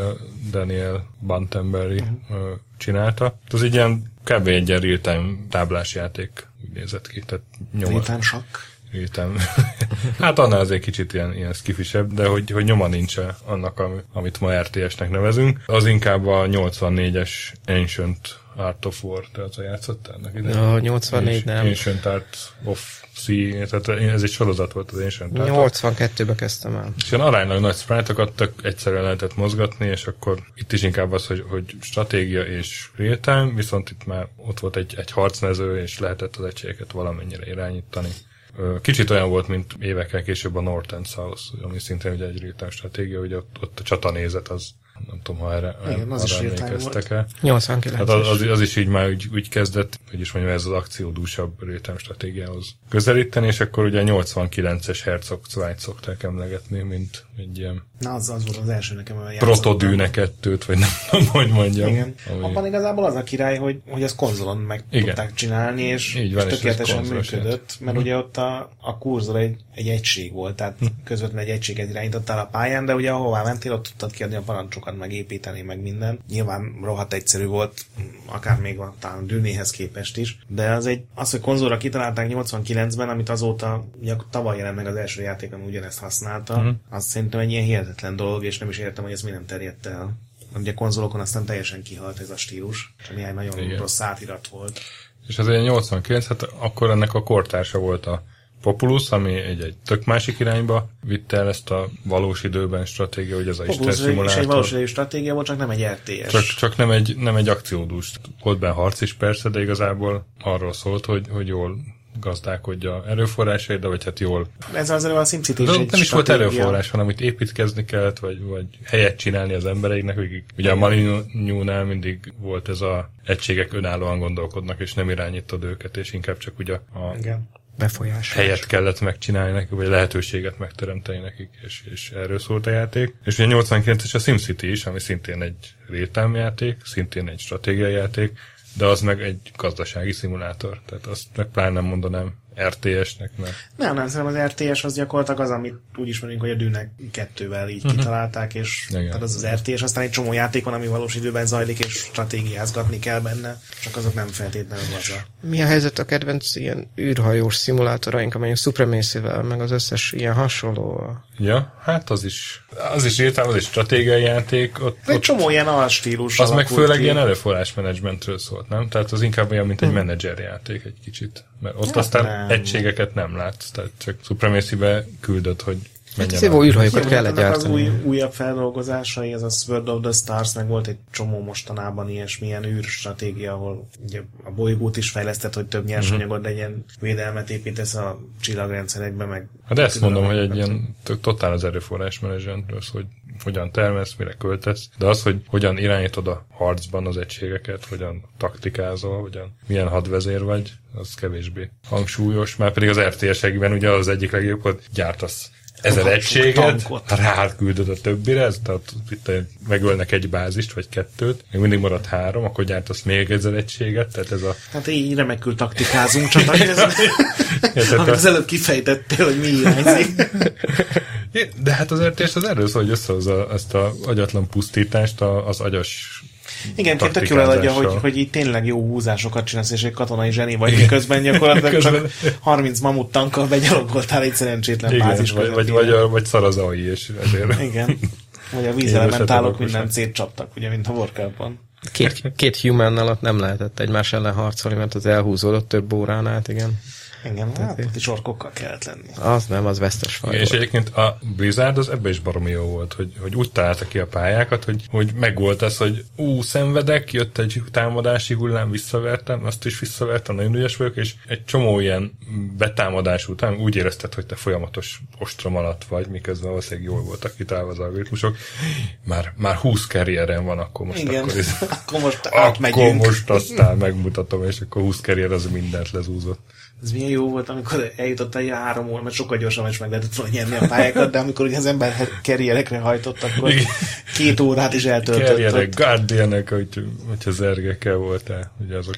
Daniel Bantenberry
Mhm.
ö, csinálta. Ez egy ilyen kb. egy ilyen real-time táblás játék úgy nézett ki, tehát nyoma,
Real-time sakk.
Értem. *laughs* hát annál azért kicsit ilyen, ilyen skifisebb, de hogy, hogy nyoma nincs -e annak, ami- amit ma RTS-nek nevezünk. Az inkább a 84-es Ancient Art of War, tehát a játszottál ennek ide?
A 84 nem.
Ancient Art of Sea, tehát ez egy sorozat volt az Ancient Art. of-
82-ben kezdtem el.
És ilyen aránylag nagy sprite-okat tök egyszerűen lehetett mozgatni, és akkor itt is inkább az, hogy, hogy stratégia és real-time, viszont itt már ott volt egy, egy harcmező, és lehetett az egységeket valamennyire irányítani. Ö, Kicsit olyan volt, mint évekkel később a North and South, ami szintén ugye egy real-time stratégia, ugye ott, ott a csatanézet az, nem tudom, ha erre,
Igen, az
arra
is real-time volt.
emlékeztek-e.
89
Hát az, az, az is így már úgy, úgy kezdett, hogy is mondjam, ez az akciódúsabb rétem stratégiához közelíteni, és akkor ugye a 89-es Herzog Zweit szokták emlegetni, mint egy ilyen
Na, az, az volt az első nekem, olyan
protodűne kettőt, vagy nem *laughs* tudom, hogy mondjam.
Igen. Ami...
Ami,
Abban igazából az a király, hogy, hogy ezt konzolon meg
Igen.
Igen. tudták csinálni, és,
Így van, és
és
ez Mhm.
tökéletesen
konzolos
működött, mert ugye ott a, a kurzor egy, egy egység volt, tehát
Mhm.
közvetlenül egy egységet irányítottál a pályán, de ugye ahová mentél, ott tudtad kiadni a parancsokat, meg építeni, meg minden. Nyilván rohadt egyszerű volt, m, akár még a talán dűnéhez képest is, de az egy, az, hogy konzolra kitalálták 89-ben, amit azóta, ugye tavaly jelent meg az első játék, ami ugyanezt használta,
Mhm.
uh-huh. az szerintem egy ilyen hihetetlen dolog, és nem is értem, hogy ez mi nem terjedt el ugye konzolokon aztán teljesen kihalt ez a stílus, csak néhány nagyon
Igen.
Igen. rossz átirat volt.
és az egy 89, hát akkor ennek a kortársa volt a Populus, ami egy, egy tök másik irányba vitte el ezt a valós időben stratégia, hogy ez a Isten
Fobus is egy
szimulátor.
valós idejű stratégia volt, csak nem egy RTS.
Csak, csak nem, egy, nem egy akciódús. Volt benne harc is persze, de igazából arról szólt, hogy, hogy jól gazdálkodja erőforrásait, de vagy hát jól.
Ez az előbb a SimCity
De
is
nem
egy
is volt
stratégia.
erőforrás, hanem itt építkezni kellett, vagy, vagy helyet csinálni az embereiknek, akik ugye a Malinyúnál mindig volt ez a egységek önállóan gondolkodnak, és nem irányítod őket, és inkább csak ugye a
Igen.
befolyás.
helyet kellett megcsinálni nekik, vagy lehetőséget megteremteni nekik, és, és erről szólt a játék. És ugye 89-es a SimCity is, ami szintén egy rétám játék, szintén egy stratégiai játék, de az meg egy gazdasági szimulátor, tehát azt meg pláne nem mondanám RTS-nek, mert
Nem, nem, szerintem az RTS az gyakorlatilag az, amit úgy ismerünk, hogy a dűnek kettővel így uh-huh. kitalálták, és
Mhm. Igen.
tehát az az RTS, aztán egy csomó játék van, ami valós időben zajlik, és stratégiázgatni kell benne, csak azok nem feltétlenül azzal.
Mi a helyzet a kedvenc ilyen űrhajós szimulátoraink, amely a Supremacy-vel, meg az összes ilyen hasonló?
Ja, hát az is, az is írtam, az is stratégiai játék, ott,
Egy
ott
csomó ilyen alstílus
az meg
alakult
főleg
ki.
ilyen erőforrás menedzsmentről szólt, nem? Tehát az inkább olyan, mint egy menedzser játék egy kicsit. Mert ott aztán
nem.
egységeket nem látsz, tehát csak supremacy küldött, hogy
Hát
menjen.
az jó
a-
űrhajókat
Jó,
kellett
annak az
gyártani.
új, újabb feldolgozásai, ez a Sword of the Stars, meg volt egy csomó mostanában ilyesmilyen űrstratégia, ahol ugye a bolygót is fejlesztett, hogy
Mhm.
több nyersanyagot legyen, védelmet építesz a csillagrendszerekbe, meg...
Hát ezt
külön-
mondom, hogy egy ilyen tök- totál az erőforrás menedzsmentről, az, hogy hogyan termelsz, mire költesz, de az, hogy hogyan irányítod a harcban az egységeket, hogyan taktikázol, hogyan, milyen hadvezér vagy, az kevésbé hangsúlyos, már pedig az RTS-ekben ugye az egyik legjobb, hogy gyártasz ezer
Tankot.
egységet,
Tankot.
ráküldöd a többire, ez, tehát itt megölnek egy bázist, vagy kettőt, még mindig marad három, akkor gyártasz még ezer egységet, tehát
*laughs*
ez a...
Hát így remekül taktikázunk,
*laughs*
csak amit, ez,
ez
amit az előbb kifejtettél, hogy mi irányzik.
É, De hát az RTS az erről szól, hogy összehozza ezt a agyatlan pusztítást a- az agyas
Igen, egyébként tök jól eladja,
taktikázással.
hogy, hogy így tényleg jó húzásokat csinálsz, és egy katonai zseni vagy, miközben gyakorlatilag
Közben.
csak 30 mamut tankkal begyalogoltál egy szerencsétlen
Igen,
bázis
vagy, vagy, vagy, a, vagy szar az AI, és ezért. *laughs*
Igen. Vagy a
Élősebb
vízelementálok
okosak.
mindent szétcsaptak, ugye, mint a Warcraftban.
Két, két humannal ott nem lehetett egymás ellen harcolni, mert az elhúzódott több órán át, igen.
Igen, hát ott is orkokkal kellett lenni.
Az nem, az vesztes faj.
Igen, és
volt.
egyébként a Blizzard az ebbe is baromi jó volt, hogy, hogy úgy találta ki a pályákat, hogy, hogy megvolt ez, hogy ú, szenvedek, jött egy támadási hullám, visszavertem, azt is visszavertem, nagyon ügyes vagyok, és egy csomó ilyen betámadás után úgy érezted, hogy te folyamatos ostrom alatt vagy, miközben valószínűleg jól voltak kitálva az algoritmusok. Már, már 20 karrierem van, akkor most
Igen,
akkor is.
*laughs* akkor most
Akkor
átmegyünk.
most aztán megmutatom, és akkor 20 karrier az mindent lezúzott.
Ez milyen jó volt, amikor eljutott egy három óra, mert sokkal gyorsan is meg lehetett volna nyerni a pályákat, de amikor ugye az ember karrierekre hajtott, akkor
Igen.
két órát is eltöltött.
Kerjenek,
ott.
Guardianek, hogy, hogyha zergekkel voltál, ugye azok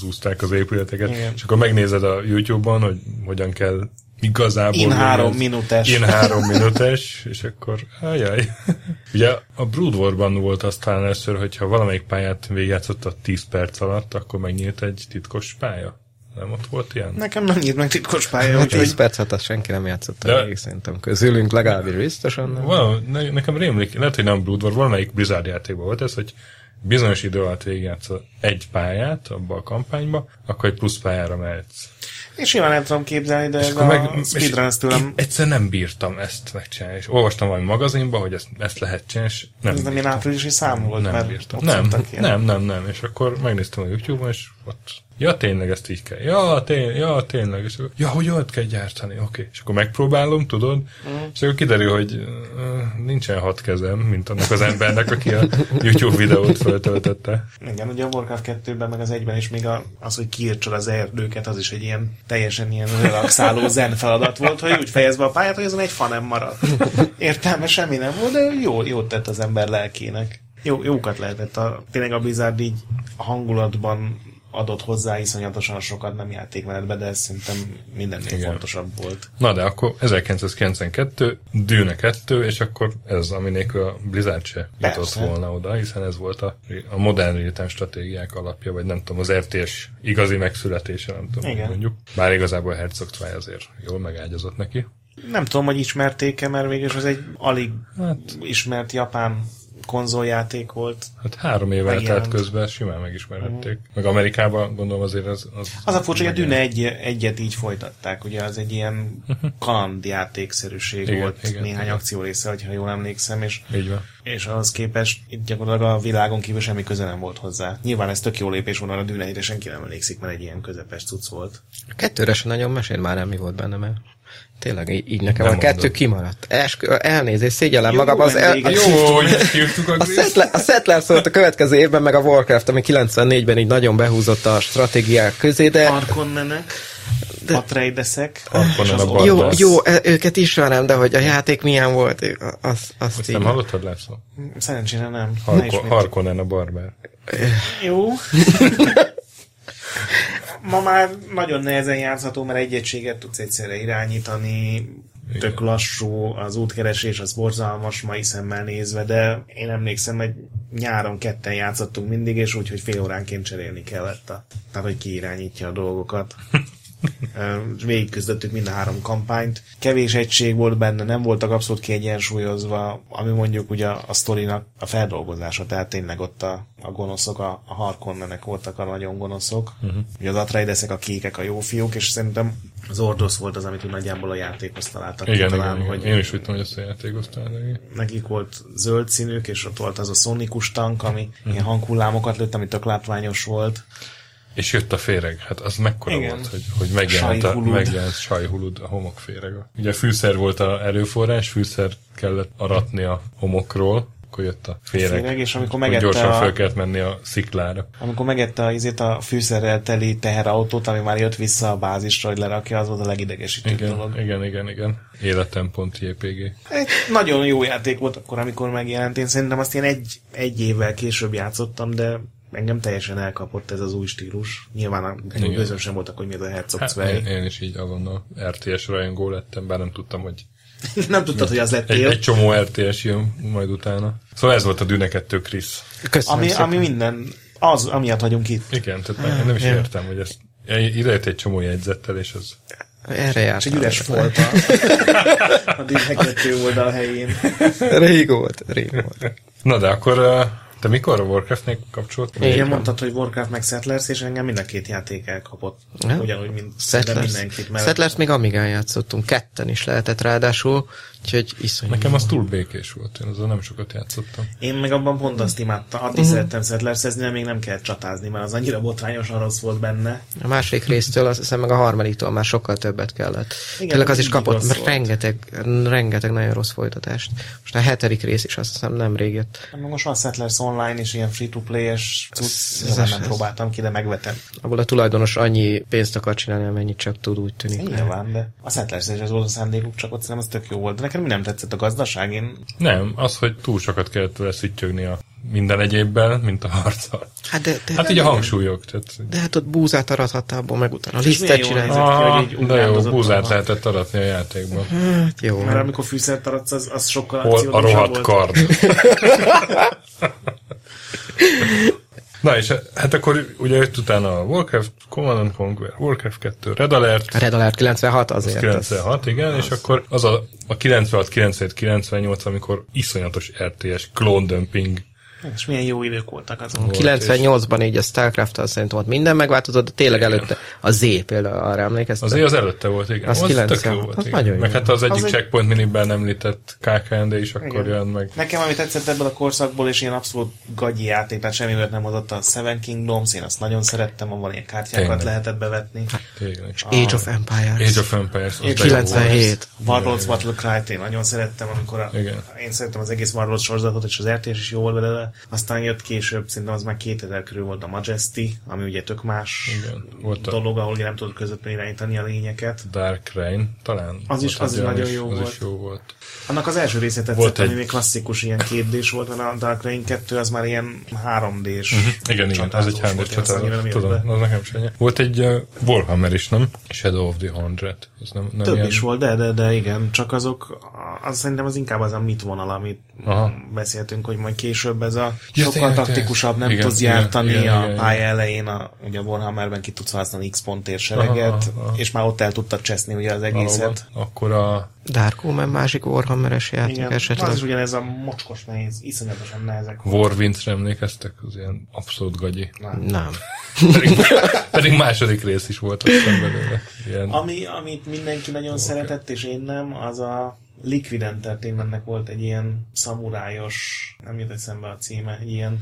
zúzták az épületeket,
Igen.
Igen. és akkor megnézed a YouTube-on, hogy hogyan kell igazából...
In három
lényezni.
minutes.
In három minutes, és akkor ajaj. *laughs* Ugye a Brood Warban volt az talán először, hogyha valamelyik pályát végigjátszott a 10 perc alatt, akkor megnyílt egy titkos pálya. Nem ott volt ilyen?
Nekem nem nyílt meg titkos pálya,
Hát 10
úgyhogy
perc hát azt senki nem játszotta
De-
végig, szerintem közülünk legalábbis biztosan nem.
Van, ne, nekem rémlik, lehet, hogy nem Blood War, valamelyik Blizzard játékban volt ez, hogy bizonyos idő alatt végigjátsz egy pályát abba a kampányba, akkor egy plusz pályára mehetsz.
és simán el tudom képzelni, de ez
Akkor
a
és
speedruns tőlem,
én Egyszer nem bírtam ezt megcsinálni, és olvastam valami magazinban, hogy ezt, ezt lehet csinálni, és nem
ez nem ilyen áprilisi szám volt,
nem
mert
bírtam.
ott
Nem,
szoktak ilyen.
nem, nem, nem. És akkor megnéztem a YouTube-on, és ott Ja, tényleg ezt így kell. Ja, tény, ja tényleg. És akkor, ja, hogy olyat kell gyártani. Oké. Okay. És akkor megpróbálom, tudod? Mm. És akkor kiderül, hogy uh, nincsen hat kezem, mint annak az embernek, aki a YouTube videót föltöltötte.
Igen, ugye a Warcraft 2-ben, meg az egyben is még a, az, hogy kiírtsod az erdőket, az is egy ilyen teljesen ilyen relaxáló zen feladat volt, hogy úgy fejezd be a pályát, hogy azon egy fa nem maradt. Értelme semmi nem volt, de jó, jót tett az ember lelkének. Jó, jókat lehetett. A, tényleg a Blizzard így a hangulatban adott hozzá iszonyatosan sokat, nem játékmenetbe, de ez szerintem mindennél
Igen.
fontosabb volt.
Na de akkor 1992, Dűne 2, és akkor ez, ami nélkül a Blizzard se jutott
Persze.
volna oda, hiszen ez volt a, a modern real stratégiák alapja, vagy nem tudom, az RTS igazi megszületése, nem tudom,
Igen.
Igen. mondjuk. Bár igazából a Herzog Tvály azért jól megágyazott neki.
Nem tudom, hogy ismerték-e, mert végülis az egy alig
Hát.
ismert japán konzoljáték volt.
Hát három év
Megjelent.
eltelt közben simán megismerhették. Meg Amerikában gondolom azért az... Az,
Az a furcsa, hogy a Dűne egy, egyet így folytatták, ugye az
*laughs*
egy ilyen kalandjátékszerűség
Igen,
volt
igen,
néhány
igen.
akció része, hogyha jól emlékszem, és,
Így van.
és ahhoz képest itt gyakorlatilag a világon kívül semmi köze nem volt hozzá. Nyilván ez tök jó lépés volna, a Dűne egyre senki nem emlékszik, mert egy ilyen közepes cucc volt.
Kettőre se nagyon mesél már el, mi volt benne, mert tényleg így, így nekem
Nem
a kettő
mondod.
kimaradt. Eskü, elnézést, szégyellem
Jó
magam, az el,
vendéget.
a,
Jó, hogy ezt hívtuk a
a,
Griszt.
Settler, a Settler szólt a következő évben, meg a Warcraft, ami 94-ben így nagyon behúzott a stratégiák közé,
Hát,
de
Arkonnenek, de... Atreideszek,
Arkonnen
és az
a
Ordos.
jó,
Bardas.
jó, e- őket ismerem, de hogy a játék milyen volt, e- az, azt
Ezt
így...
nem hallottad, László?
Szerencsére nem. Ne
Harko-
ismét.
Harkonnen a barbár.
Jó. ma már nagyon nehezen játszható, mert egy egységet tudsz egyszerre irányítani, tök lassú, az útkeresés az borzalmas mai szemmel nézve, de én emlékszem, hogy nyáron ketten játszottunk mindig, és úgy, hogy fél óránként cserélni kellett. A, tehát, hogy ki irányítja a dolgokat. végigküzdöttük mind a három kampányt. Kevés egység volt benne, nem voltak abszolút kiegyensúlyozva, ami mondjuk ugye a sztorinak a feldolgozása, tehát tényleg ott a, a gonoszok, a, a Harkonnenek voltak a nagyon gonoszok.
Mhm.
Uh-huh. Ugye az Atreideszek a kékek, a jó fiúk, és szerintem az Ordos volt az, amit úgy nagyjából a játékhoz találtak.
Igen,
ki,
igen, igen. Hogy én is úgy tudom, hogy ezt a játékoztál. de igen.
nekik volt zöld színük, és ott volt az a szonikus tank, ami
Mhm.
uh-huh. ilyen hanghullámokat lőtt, amit tök látványos volt.
És jött a féreg, hát az mekkora
Igen.
Igen. volt, hogy, hogy megjelent, a,
Sajhulud.
megjelent sajhulud a homokféreg. Ugye fűszer volt a erőforrás, fűszer kellett aratni a homokról, akkor jött a féreg.
Féreg, és amikor
Hogy
megette
Gyorsan
a-
fel kellett menni a sziklára.
Amikor megette a, izét a fűszerrel teli teherautót, ami már jött vissza a bázisra, hogy lerakja, az volt a legidegesítőbb
Igen,
dolog.
igen, igen, igen. Életem.jpg.
Egy nagyon jó játék volt akkor, amikor megjelent. Én szerintem azt én egy, egy évvel később játszottam, de engem teljesen elkapott ez az új stílus. Nyilván a
Igen.
gőzöm sem voltak, hogy mi ez a Herzog
Hát,
hát,
én, én, is így azonnal RTS rajongó lettem, bár nem tudtam, hogy
*laughs* Nem tudtad, hogy az
egy,
lettél.
egy csomó RTS jön majd utána. Szóval ez volt a dűnekettő Krisz.
Köszönöm
Ami,
szépen.
ami minden. Az, amiatt vagyunk itt.
Igen, tehát én nem is
igen.
értem, hogy ezt ide jött egy csomó jegyzettel, és az
Erre járt.
És
*laughs*
egy
*laughs*
üres folt a, *laughs* a dűhegető oldal helyén.
Rég volt, rég volt.
Na de akkor uh, te mikor a Warcraftnél kapcsolt?
Én-
Igen,
van.
mondtad, hogy Warcraft meg Settlers, és engem mind a két játék elkapott.
Ja.
Ugyanúgy, mint de
Settlers.
mindenkit. Mert
Settlers még Amigán játszottunk, ketten is lehetett ráadásul, úgyhogy iszonyú.
Nekem az túl békés volt, én azzal nem sokat játszottam.
Én meg abban pont azt imádtam. Addig
Mhm.
uh-huh. szerettem Settlersezni, de még nem kellett csatázni, mert az annyira botrányosan rossz volt benne.
A másik résztől, azt hiszem meg a harmadiktól már sokkal többet kellett.
Igen,
Igen, Tényleg az
ez
is
így
kapott
rossz volt.
rengeteg, rengeteg nagyon rossz folytatást. Most a hetedik rész is azt hiszem nemrég jött.
Meg Most van Settlers online, és ilyen free-to-play-es cucc, nyilván nem
ez-
próbáltam ki, de megvetem.
Abból a tulajdonos annyi pénzt akar csinálni, amennyit csak tud, úgy tűnik. Hát,
Nyilván, de a Settlers is az volt a szándékuk, csak ott szerintem az tök jó volt. De nekem mi nem tetszett a gazdaság, én
Nem, az, hogy túl sokat kellett vele szüttyögni a minden egyébben, mint a harccal.
Hát, de, de,
Hát így a hangsúlyok. Tehát,
de hát ott búzát arathattál abból, meg utána a
És milyen
lisztet
jól
csinálni.
nézett ki, hogy így
ah, de jó,
ugrándozott
búzát
a-
lehetett aratni a játékban.
Hát jó.
mert amikor fűszert aratsz, az, az sokkal
Hol a
akciódúsabb
rohadt
volt.
kard?
*laughs*
Na és hát akkor ugye jött utána a Warcraft, Command and Conquer, Warcraft 2, Red Alert,
A Red Alert 96 azért. az-
96, igen, és akkor az a, a 96, 97, 98, amikor iszonyatos er RTS klóndömping.
És milyen jó idők voltak azok.
98-ban így a starcraft szerintem ott minden megváltozott, de tényleg előtte a Z például arra emlékeztem.
Azért az előtte volt, igen.
Az
Az, az tök
96,
jó volt.
az
igen.
nagyon
Meg
jó.
hát az egyik
egy-
az checkpoint miniben említett KKND is akkor
Igen.
jön meg.
Nekem, ami tetszett ebből a korszakból, és ilyen abszolút gagyi játék, tehát semmi olyat nem hozott a Seven Kingdoms, én azt nagyon szerettem, abban ilyen kártyákat
Tényleg. Hát,
lehetett bevetni.
Tényleg.
Age of Empires.
Age of Empires. az de jó volt.
97.
Warlords Battle Cry-t én nagyon szerettem, amikor a,
Igen.
én szerettem az egész Warlords sorozatot, és az RTS is jó volt belőle. Aztán jött később, szerintem az már 2000 körül volt a Majesty, ami ugye tök más
Igen, volt a-
dolog, ahol ugye nem tudod közvetlenül irányítani a lényeket.
Dark Rain, talán.
Az is-
volt
az
egy
is
olyan
nagyon jó
az
volt.
Is jó volt.
Annak az első része tetszett,
Volt
volt
egy-
ami még klasszikus ilyen 2D-s volt, mert a Dark Reign 2 az már ilyen 3D-s.
Mhm. Igen, igen, az egy hándés csatázat. Tudom,
Tudom.
az nekem sem. Volt egy uh, Warhammer is, nem? Shadow of the Hundred. Az nem, nem
Több
ilyen...
is volt, de, de, de igen, csak azok, az szerintem az inkább az a mit vonal, amit
Aha.
beszéltünk, hogy majd később ez a
Ja,
sokkal
tényleg,
taktikusabb, nem
tényleg.
tudsz
Igen,
jártani
igen,
a
igen, igen.
pálya elején, a, ugye a Warhammerben ki tudsz használni X pont térsereget,
Aha, aha.
és már ott el tudtad cseszni ugye az
Valóban.
egészet.
Akkor a
Dark Omen másik Warhammeres játék
Igen,
esetleg.
az is ugyanez a mocskos nehéz, iszonyatosan nehezek.
Warwinds-re emlékeztek? Az ilyen abszolút gagyi.
Nem.
Pedig, pedig második rész is volt aztán belőle. Ilyen,
Ami, amit mindenki nagyon okay. szeretett, és én nem, az a Liquid Entertainmentnek volt egy ilyen szamurájos, nem jut eszembe a címe, egy ilyen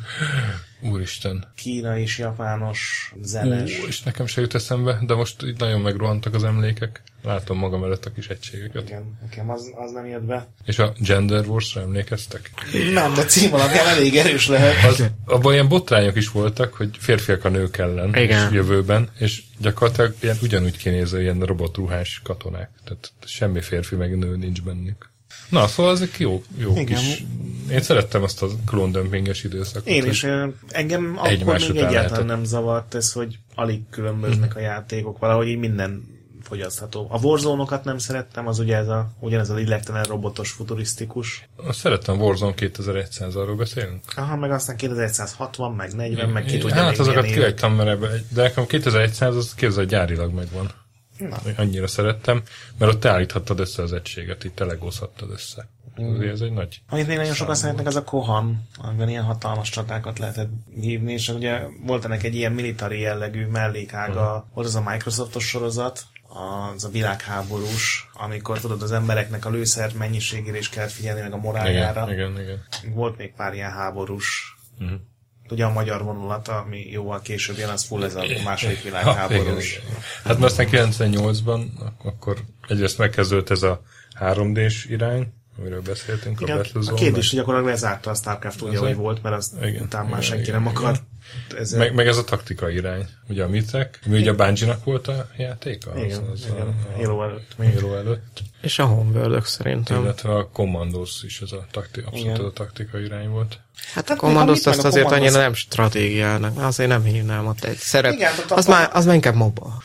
úristen.
kína és japános zenes.
Ú, és nekem se jut eszembe, de most így nagyon megrohantak az emlékek. Látom magam előtt a kis egységeket.
Igen, nekem az, az nem jött be.
És a Gender Wars-ra emlékeztek?
Nem, de cím alapján elég erős lehet.
Az, abban ilyen botrányok is voltak, hogy férfiak a nők ellen
Igen.
és jövőben, és gyakorlatilag ilyen ugyanúgy kinéző ilyen robotruhás katonák. Tehát semmi férfi meg nő nincs bennük. Na, szóval ezek jó, jó
Igen,
kis Én szerettem azt a klóndömpinges időszakot.
Én
hogy-
is. ö, Engem akkor
egymás
még
után
egyáltalán
lehetett.
nem zavart ez, hogy alig különböznek a játékok, valahogy így minden fogyasztható. A warzone nem szerettem, az ugye ez a, ugyanez a lillektelen robotos, futurisztikus.
Azt szerettem Warzone 2100, arról beszélünk?
Aha, meg aztán 2160, meg 40, meg ki
Én-
tudja
Hát
még
azokat
milyen évek.
kihagytam, mert ebbe, de nekem 2100 az képzeld gyárilag megvan.
Na.
Annyira szerettem, mert ott te állíthattad össze az egységet, itt telegózhattad össze.
Mm.
Azért ez egy nagy...
Amit még nagyon sokan szeretnek, az a Kohan, amiben ilyen hatalmas csatákat lehetett hívni, és ugye volt ennek egy ilyen militari jellegű mellékága, volt az a Microsoftos sorozat, az a világháborús, amikor tudod, az embereknek a lőszer mennyiségére is kellett figyelni, meg a
Igen,
moráljára.
igen, igen. Mhm.
Volt még pár ilyen háborús, ugye a magyar vonulata, ami jóval később jön, az full ez
*laughs*
a második világháborús.
Hát mert aztán 98-ban ak- akkor egyrészt megkezdődött ez a 3D-s irány, amiről beszéltünk
Igen,
a
a
Battlezone.
kérdés, hogy akkor lezárta a Starcraft úgy, ahogy volt, mert az
Igen,
utána már
igen,
senki
igen,
nem
igen.
akart. ezzel-
Meg, meg, ez a taktika irány, ugye a Mitek, mi ugye a bungie volt a játéka?
Igen,
az, az
igen,
A, a
Halo előtt még.
Halo előtt.
És a honvörlök szerintem. Hát
Illetve a Commandos is ez a takti, abszolút
Igen.
ez a taktika irány volt.
Hát a
Hát
kommandoszt
meg a
azt azért
Commandos-
annyira nem stratégiának, azért nem hívnám ott egy szerep.
Igen, ott a-
Az már, az már inkább MOBA.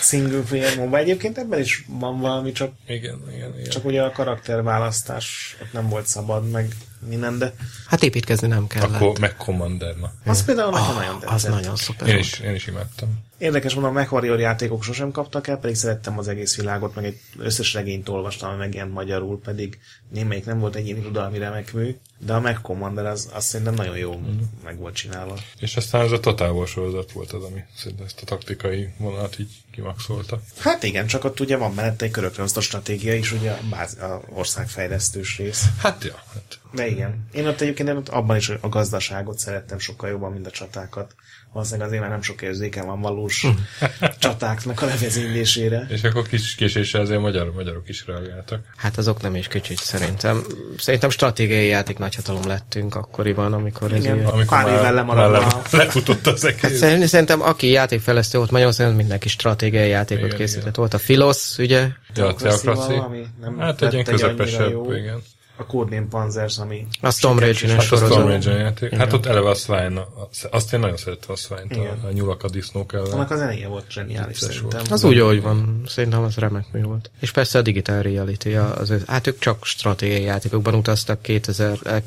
Single player mobile. Egyébként ebben is van valami, csak,
Igen, igen, igen.
csak ugye a karakterválasztás ott nem volt szabad, meg minden, de
Hát építkezni nem kell.
Akkor meg Commander, na.
az például nekem nagyon
Ah, az
tetszett.
nagyon szuper.
Én
volt.
is, én is imádtam.
Érdekes mondom, a MechWarrior játékok sosem kaptak el, pedig szerettem az egész világot, meg egy összes regényt olvastam, ami megjelent magyarul, pedig némelyik nem volt egyéni tudalmi remek mű, de a Mech Commander az, az szerintem nagyon jó
Hm.
meg volt csinálva.
És aztán ez a Total War sorozat volt az, ami szerintem ezt a taktikai vonalat így kimaxolta.
Hát igen, csak ott ugye van mellette egy körökre osztott stratégia is, ugye a, báz, a országfejlesztős rész.
Hát ja, hát.
De igen. Én ott egyébként én ott abban is a gazdaságot szerettem sokkal jobban, mint a csatákat. Valószínűleg azért már nem sok érzéken van valós *laughs* csatáknak a levezénylésére.
És akkor kis késéssel azért magyar, magyarok is reagáltak.
Hát azok nem is kicsit szerintem. Szerintem stratégiai játék nagyhatalom lettünk akkoriban, amikor ez ilyen.
Amikor
Pár évvel lemarad a-
*laughs* lefutott az
Hát
egész.
szerint- szerintem aki játékfejlesztő volt Magyarországon, mindenki stratégiai játékot
Igen,
igen, készített.
igen.
Volt a Filosz, ugye?
Ja, a teokraci.
Valami nem
Hát
lett
egy ilyen
annyira
közepesebb,
jó.
igen.
A Codename Panzers, ami...
A Storm Rage-ön
Hát a Storm
sorozat.
Ranger játék. Hát ott eleve a Swine, a- azt én nagyon szerettem a Swine-t,
Igen.
a, a nyulak a disznók ellen.
Annak a zenéje volt zseniális
Vicces volt.
szerintem.
Az úgy, ahogy van. Szerintem az remek mű volt. És persze a Digital Reality. Az, ő- hát ők csak stratégiai játékokban utaztak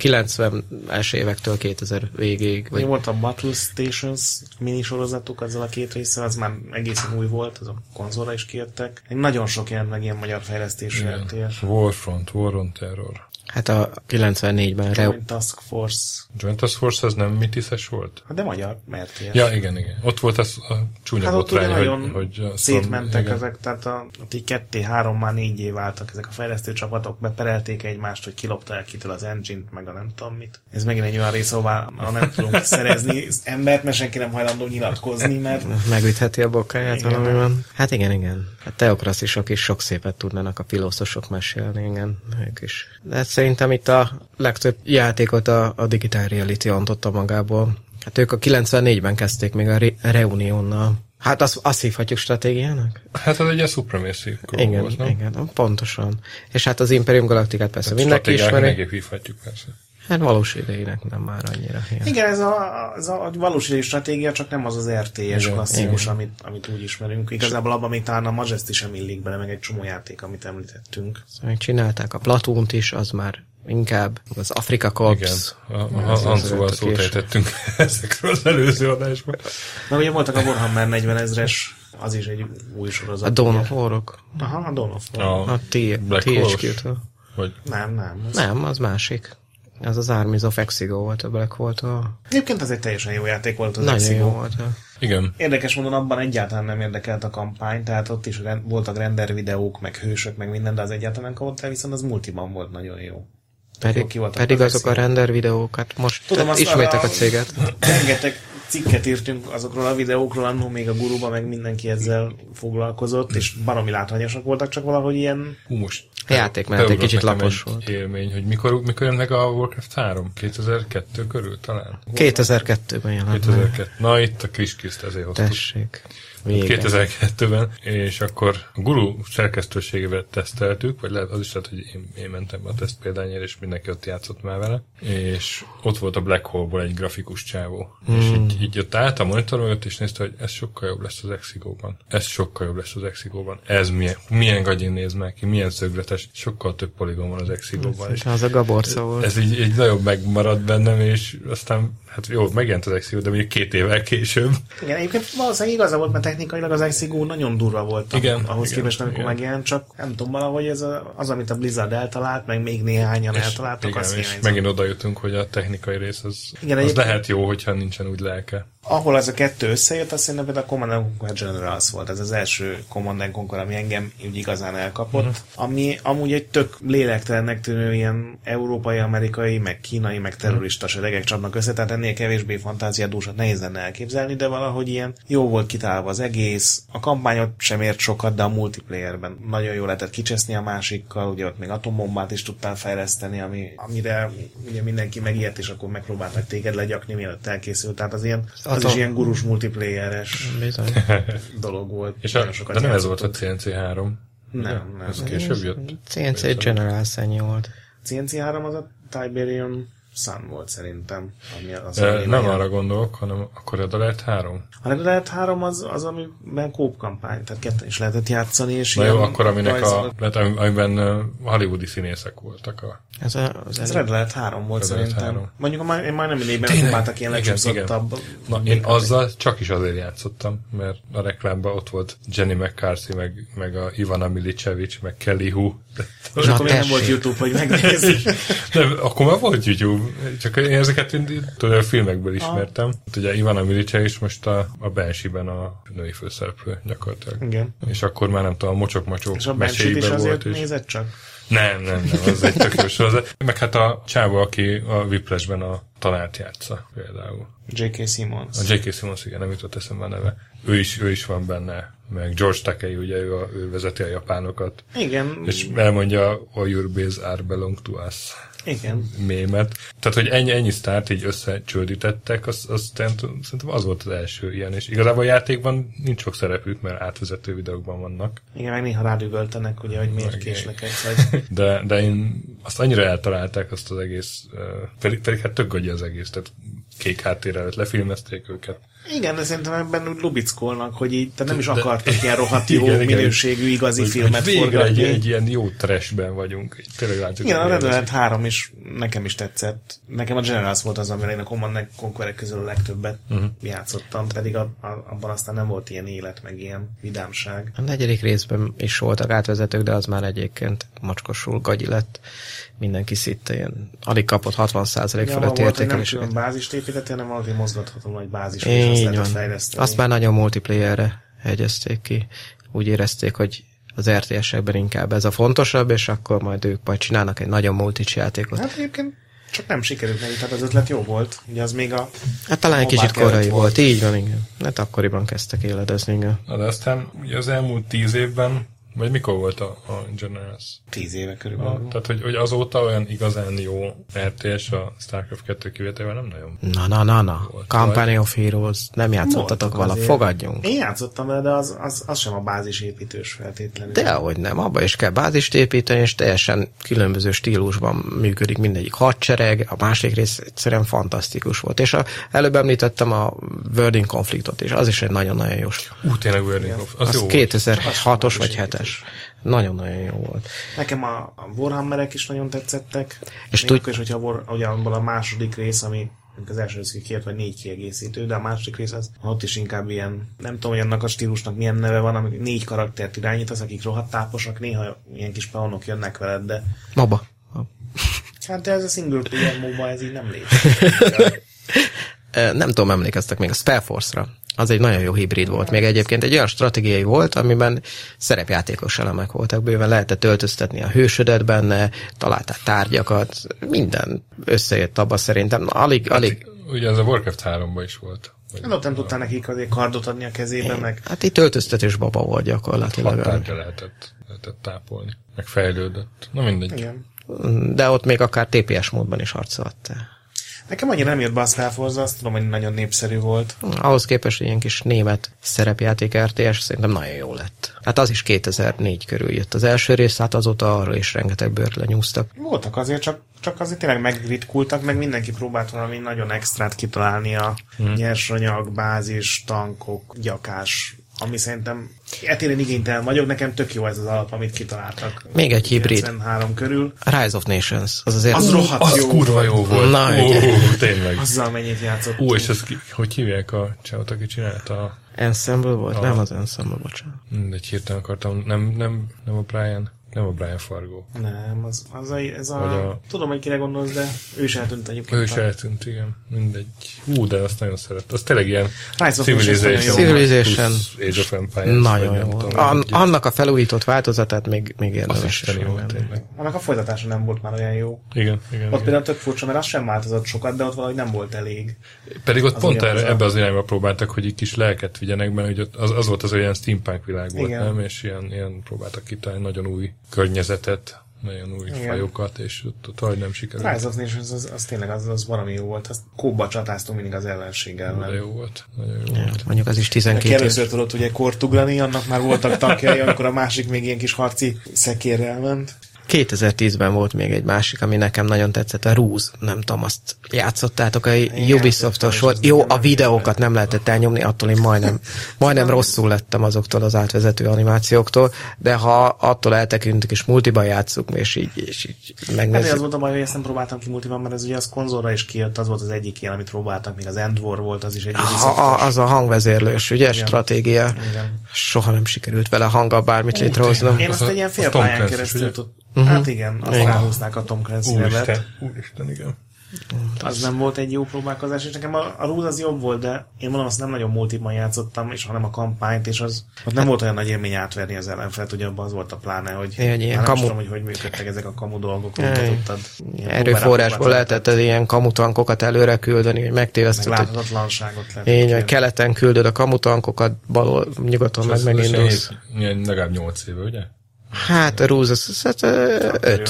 2090-es évektől 2000 végéig.
Mi
Vagy
volt a Battle Stations mini sorozatuk, azzal a két része, az már egészen új volt, azok konzolra is kijöttek. Egy nagyon sok ilyen meg ilyen magyar fejlesztésű
Igen.
RTS.
Warfront, War on Terror.
hát a 94-ben Reu...
Mint Task Force.
Joint Task Force az nem mitiszes volt?
Hát de magyar, mert ilyen.
Ja, igen, igen. Ott volt az a csúnya
Hát ott ugye
botrány,
nagyon
hogy, hogy a
szétmentek
igen.
ezek, tehát a, ott így ketté, három, már négyé váltak ezek a fejlesztő csapatok, beperelték egymást, hogy kilopták kitől az engine-t, meg a nem tudom mit. Ez megint egy olyan rész, ahová ahol nem tudunk
*laughs*
szerezni az embert, mert senki nem hajlandó nyilatkozni, mert
Megütheti a bokáját
Igen.
igen. valamiben. Hát igen, igen. A teokraszisok is sok szépet tudnának a filószosok mesélni, igen, ők is. De hát szerintem itt a legtöbb játékot a, a Digital Reality ontotta magából. Hát ők a 94-ben kezdték még a Re- Reunionnal. Hát azt, azt hívhatjuk stratégiának?
Hát ez egy ilyen supremacy
igen,
volt, nem? Hát
igen, pontosan. És hát az Imperium Galaktikát persze mindenki
Stratégiának
ismeri.
Megépp hívhatjuk persze.
Hát valós idejének nem már annyira. Igen.
igen, ez a, ez a valós idejű stratégia, csak nem az az RTS
Igen,
klasszikus, amit, amit úgy ismerünk. Igazából abban még talán a Majesty sem illik bele, meg egy csomó játék, amit említettünk.
Még csinálták a Platont is, az már inkább az Afrika
Igen.
Corps.
A, a, a Hanzóval
az
szót
késő.
ejtettünk *laughs* ezekről az előző adásban.
Meg ugye voltak a Warhammer 40 ezres, az is egy új sorozat.
A Dawn of
ugye.
Warok.
Aha, a Dawn of War.
A
A T-
Black Horse.
THQ-től.
Vagy
Nem, nem. Az...
Nem, az másik. Az az Armies of Exigo volt, a Black volt a...
Egyébként az egy teljesen jó játék volt az
Nagyon
Exigo.
jó volt. a-
igen,
Érdekes módon abban egyáltalán nem érdekelt a kampány, tehát ott is rend, voltak render videók, meg hősök, meg minden, de az egyáltalán nem kapott el, viszont az multiban volt nagyon jó. jó ki
Pedig,
voltak
pedig
az
azok a
Exigo.
render videókat most
Tudom,
tehát
azt
ismétek
arra-
a céget.
Rengeteg cikket írtunk azokról a videókról, annó még a guruba, meg mindenki ezzel foglalkozott, és baromi látványosak voltak, csak valahogy ilyen
hú, most
A játék mellett
beugrott
egy kicsit
nekem
lapos
egy
volt.
élmény, hogy mikor, mikor jön meg a Warcraft 3? 2002 körül talán?
2002-ben jelent meg.
2002. Na, itt a kis kiszt ezért hoztuk.
Tessék. Vége.
2002-ben, és akkor a guru szerkesztőségével teszteltük, vagy lehet az is lehet, hogy én, én mentem be a teszt példányért, és mindenki ott játszott már vele, és ott volt a Black Hole-ból egy grafikus csávó, hmm. és így, így ott állt a monitor mögött, és nézte, hogy ez sokkal jobb lesz az Exigóban, ez sokkal jobb lesz az Exigóban, ez milyen, milyen gagyin néz meg ki, milyen szögletes, sokkal több poligon van az Exigóban, és
Az a gaborca volt.
ez így, így nagyon megmaradt bennem, és aztán, hát jó, megjelent az Exigó, de mondjuk két évvel később.
Igen, egyébként valószínűleg igaza volt, mert technikailag az XCGO nagyon durva volt
Igen,
ahhoz
igen,
képest, amikor
igen.
megjelent, csak nem tudom, valahogy ez a, az, amit a Blizzard eltalált, meg még néhányan
És-
eltaláltak,
igen,
az
és
hiányzott.
megint oda jutunk, hogy a technikai rész az,
Igen,
igen, az
egyébként-
lehet jó, hogyha nincsen úgy lelke.
ahol ez a kettő összejött, azt szerintem például a Command and Conquer Generals volt. Ez az első Command and Conquer, ami engem úgy igazán elkapott. Uh-huh. Ami amúgy egy tök lélektelennek tűnő ilyen európai, amerikai, meg kínai, meg terrorista uh-huh. seregek csapnak össze, tehát ennél kevésbé fantáziadúsat nehéz lenne elképzelni, de valahogy ilyen jó volt kitálva az egész. A kampányot sem ért sokat, de a multiplayerben nagyon jól lehetett kicseszni a másikkal, ugye ott még atombombát is tudtál fejleszteni, ami, amire ugye mindenki megijedt, és akkor megpróbáltak téged legyakni, mielőtt elkészült. Tehát az ilyen az
Hát
Atom-
is ilyen gurus multiplayeres
*laughs* Bizony.
dolog volt.
És a,
Nagyon sokat
de nem ez
játszottunk.
volt a CNC3.
Nem, nem.
Ez később jött.
CNC Generals ennyi volt.
CNC 3 az a Tiberium Sun volt szerintem. Ami az
Ö,
ami
Nem
ilyen.
arra gondolok, hanem akkor a lehet 3.
A Red Alert 3 az, az amiben kóp kampány, tehát ketten is lehetett játszani, és
Na
ilyen
jó, akkor aminek a,
rajzolat-
lehet, am- amiben ö, hollywoodi színészek voltak. A,
Ez a, az
Ez
előbb.
Red Alert 3 volt
Red Alert
szerintem.
3.
Mondjuk a maj, én majdnem mindegyikben
Tényleg?
próbáltak ilyen
Igen,
lecsúszottabb.
na, én azzal csak is azért játszottam, mert a reklámban ott volt Jenny McCarthy, meg, meg a Ivana Milicevic, meg Kelly Hu.
És
Na,
akkor még nem
tessék.
volt YouTube, hogy
*laughs*
megnézzük.
Nem, akkor már volt YouTube, csak én ezeket én, tudod, a
Ah.
filmekből ismertem. Hát Ugye Ivana Milice is most a, a Bensiben a női főszereplő gyakorlatilag.
Igen.
És akkor már nem tudom, a mocsok-macsok
És a Benchit is
meséiben
azért
volt. És...
nézett csak.
Nem, nem, nem, az egy tök jó sorozat. Meg hát a csávó, aki a Whiplashben a tanárt játsza például.
J.K. Simmons.
A J.K. Simmons, igen, nem jutott eszembe a neve. Ő is, ő is van benne, meg George Takei, ugye ő, a, ő vezeti a japánokat,
Igen,
és elmondja, all your base are belong to us
igen.
mémet. Tehát, hogy ennyi, ennyi sztárt így összecsődítettek, az, az szerintem szerintem az volt az első ilyen, és igazából a játékban nincs sok szerepük, mert átvezető videókban vannak,
Igen, meg néha rád üvöltenek, ugye, hogy miért
Meg-
késlek egy,
*laughs*
vagy...
de, de én azt annyira eltalálták azt az egész, ö, pedig, pedig hát tök gagyi az egész, tehát kék háttér előtt lefilmezték őket.
Igen, de szerintem ebben úgy lubickolnak, hogy így, te nem is
De-
akartak ilyen rohadt
*laughs*
jó
Igen, igen.
minőségű igazi
Hogy-
filmet
hogy végre egy,
forgatni.
egy ilyen jó trashben vagyunk. Így Tényleg látjuk,
Igen, a
hogy
Red
élvezik.
Alert 3 is nekem is tetszett. Nekem a Generals volt az, amire én a Command Conquerek közül a legtöbbet
Mhm.
uh-huh. játszottam, pedig a, a, abban aztán nem volt ilyen élet, meg ilyen vidámság.
A negyedik részben is voltak átvezetők, de az már egyébként macskosul gagyi lett. Mindenki szitte ilyen, alig kapott 60%
Ja,
fölött
volt, hogy nem
értékeléseket.
külön bázist építettél, hanem valami mozgatható nagy bázis, és azt
Így
lehetett
van.
fejleszteni.
Azt már nagyon multiplayerre hegyezték ki. Úgy érezték, hogy az RTS-ekben inkább ez a fontosabb, és akkor majd ők majd csinálnak egy nagyon multis játékot.
Hát egyébként csak nem sikerült neki, tehát az ötlet jó volt. Ugye az még a...
Hát talán egy
Mobile
kicsit
kellett
korai
volna.
volt, így van, igen. Hát akkoriban kezdtek éledezni, igen.
Na, de aztán ugye az elmúlt tíz évben, vagy mikor volt a, a Generals?
Tíz éve
A,
körülbelül.
tehát, hogy, hogy azóta olyan igazán jó RTS a StarCraft 2 kivételével nem nagyon.
Na, na, na, na.
Volt,
Company of Heroes. Nem játszottatok
Voltak
vala,
azért.
fogadjunk.
Én játszottam vele, de az, az, az sem a bázisépítős feltétlenül.
Dehogy nem, abba is kell bázist építeni, és teljesen különböző stílusban működik mindegyik hadsereg, a másik rész egyszerűen fantasztikus volt. És a, előbb említettem a Wording konfliktot, és az is egy nagyon-nagyon jó.
Ú, tényleg Burning Off. Az,
Az,
jó
az
volt.
2006-os vagy 7-es. Nagyon-nagyon jó volt.
Nekem a, a Warhammerek is nagyon tetszettek.
És
És
tud-
tud... is, hogyha War, ugye abból a második rész, ami mondjuk az első rész két vagy négy kiegészítő, de a második rész az ott is inkább ilyen, nem tudom, hogy annak a stílusnak milyen neve van, amik négy karaktert irányítasz, akik rohadt táposak, néha ilyen kis peonok jönnek veled, de
Baba.
hát de ez a single player MOBA, ez így
*laughs*
nem létezik.
Ö, Nem tudom, emlékeztek még a Spellforce-ra. Az egy nagyon jó hibrid volt. Még egyébként egy olyan stratégiai volt, amiben szerepjátékos elemek voltak. Bőven lehetett öltöztetni a hősödet benne, találtál tárgyakat, minden összejött abba szerintem. Alig, alig,
Ugye ez a Warcraft 3-ban is volt. Vagy
Hát ott nem tudtál nekik azért kardot adni a kezébe, meg
hát itt öltöztetés baba volt
hat
gyakorlatilag.
tárgya lehetett, lehetett tápolni. Meg fejlődött. Na mindegy.
igen.
De ott még akár TPS módban is harcolhattál.
Nekem annyira nem jött be a Star Force, azt tudom, hogy nagyon népszerű volt.
Ahhoz képest, hogy ilyen kis német szerepjáték RTS szerintem nagyon jó lett. Hát az is 2004 körül jött az első rész, hát azóta arról is rengeteg bört lenyúztak.
Voltak azért, csak, csak azért tényleg megritkultak, meg mindenki próbált valami nagyon extrát kitalálni a
Hm.
hmm. nyersanyag, bázis, tankok, gyakás, ami szerintem etélén igénytelen vagyok, nekem tök jó ez az alap, amit kitaláltak.
Még egy hibrid.
93 körül.
Rise of Nations. Az azért...
Az rohadt
Az
jó.
kurva jó volt.
Na,
Ó,
igen.
tényleg.
Azzal mennyit játszott.
Ú, és ez ki, hogy hívják a csávot, aki csinálta a...
Ensemble volt? Nem az Ensemble, bocsánat.
Mindegy, hirtelen akartam, nem, nem, nem a Brian, nem a Brian Fargo.
Nem, az, az a, ez
Vagy
a,
a-
a... Tudom, hogy kire gondolsz, de ő is eltűnt egyébként.
Ő is eltűnt, igen, mindegy. Ú, de azt nagyon szeret. Az tényleg ilyen
Rise of Nations nagyon jó.
Civilization.
plusz Age of Empires.
Nagyon jó.
volt.
volt. An- annak a felújított változatát még, még
az
érdemes
isteni jó,
megvenni.
tényleg.
Annak a folytatása nem volt már olyan jó.
Igen, igen.
Ott
igen.
például tök furcsa, mert az sem változott sokat, de ott valahogy nem volt elég.
Pedig ott
az
pont
ugyanaz
erre,
a-
ebbe az irányba próbáltak, hogy egy kis lelket vigyenek benne, hogy ott az, az volt az olyan steampunk világ volt,
Igen.
nem? És ilyen, ilyen próbáltak kitalálni nagyon új környezetet, nagyon új Igen. fajokat, és ott, ott hogy nem sikerült.
Rise of Nations az, az tényleg az, az valami jó volt. Azt kóba csatáztunk mindig az ellenség
Nagyon
ellen.
jó volt. Nagyon jó
Ja,
volt.
Mondjuk az is
Aki
12 év.
először tudott ugye kort ugrani, annak már voltak tankjai, amikor a másik még ilyen kis harci szekérrel ment.
2010-ben volt még egy másik, ami nekem nagyon tetszett, a Rúz. Nem tudom, azt játszottátok, a Ubisoftos
és az
volt. Jó,
nekem
a
nem
videókat nem lehetett elnyomni, attól én majdnem, majdnem rosszul lettem azoktól az átvezető animációktól, de ha attól eltekintünk és multiba játszunk, és így, és így
Hát az
megnézzük.
volt a baj, hogy ezt nem próbáltam ki multiban, mert ez ugye az konzolra is kijött, az volt az egyik ilyen, amit próbáltam, még az End War volt, az is egy
Ha, a, az a hangvezérlős, ugye, stratégia.
Igen.
Soha nem sikerült vele hanggal bármit létrehoznom.
Én
Az
azt
a-
egy ilyen
az Tom
félpályán
Clancy-s,
keresztül
ugye?
tud... Hát igen, azt ráhúzták a Tom Clancy nevet.
Úristen, úristen, igen.
Az nem volt egy jó próbálkozás, és nekem a, a Rúd az jobb volt, de én mondom, azt nem nagyon multiban játszottam, és hanem a kampányt, és az ott Hát nem volt olyan nagy élmény átverni az ellenfelet, ugye abban az volt a pláne, hogy
Ilyen-
már
ilyen
nem
kamu-
is tudom, hogy hogy működtek ezek a kamu dolgok, mint
Ilyen-
tudtad. Ilyen
Erőforrásból
próbálkozás,
lehetett az ilyen kamutankokat előre küldeni, hogy
meg
megtévesztett, hogy
láthatatlanságot lehet.
Így, hogy
kérni.
keleten küldöd a kamutankokat, balol, nyugaton meg
Ez- ez
megindulsz.
ilyen- Ilyen legalább 8 éve, ugye?
Hát a rúz az, hát, ö, öt.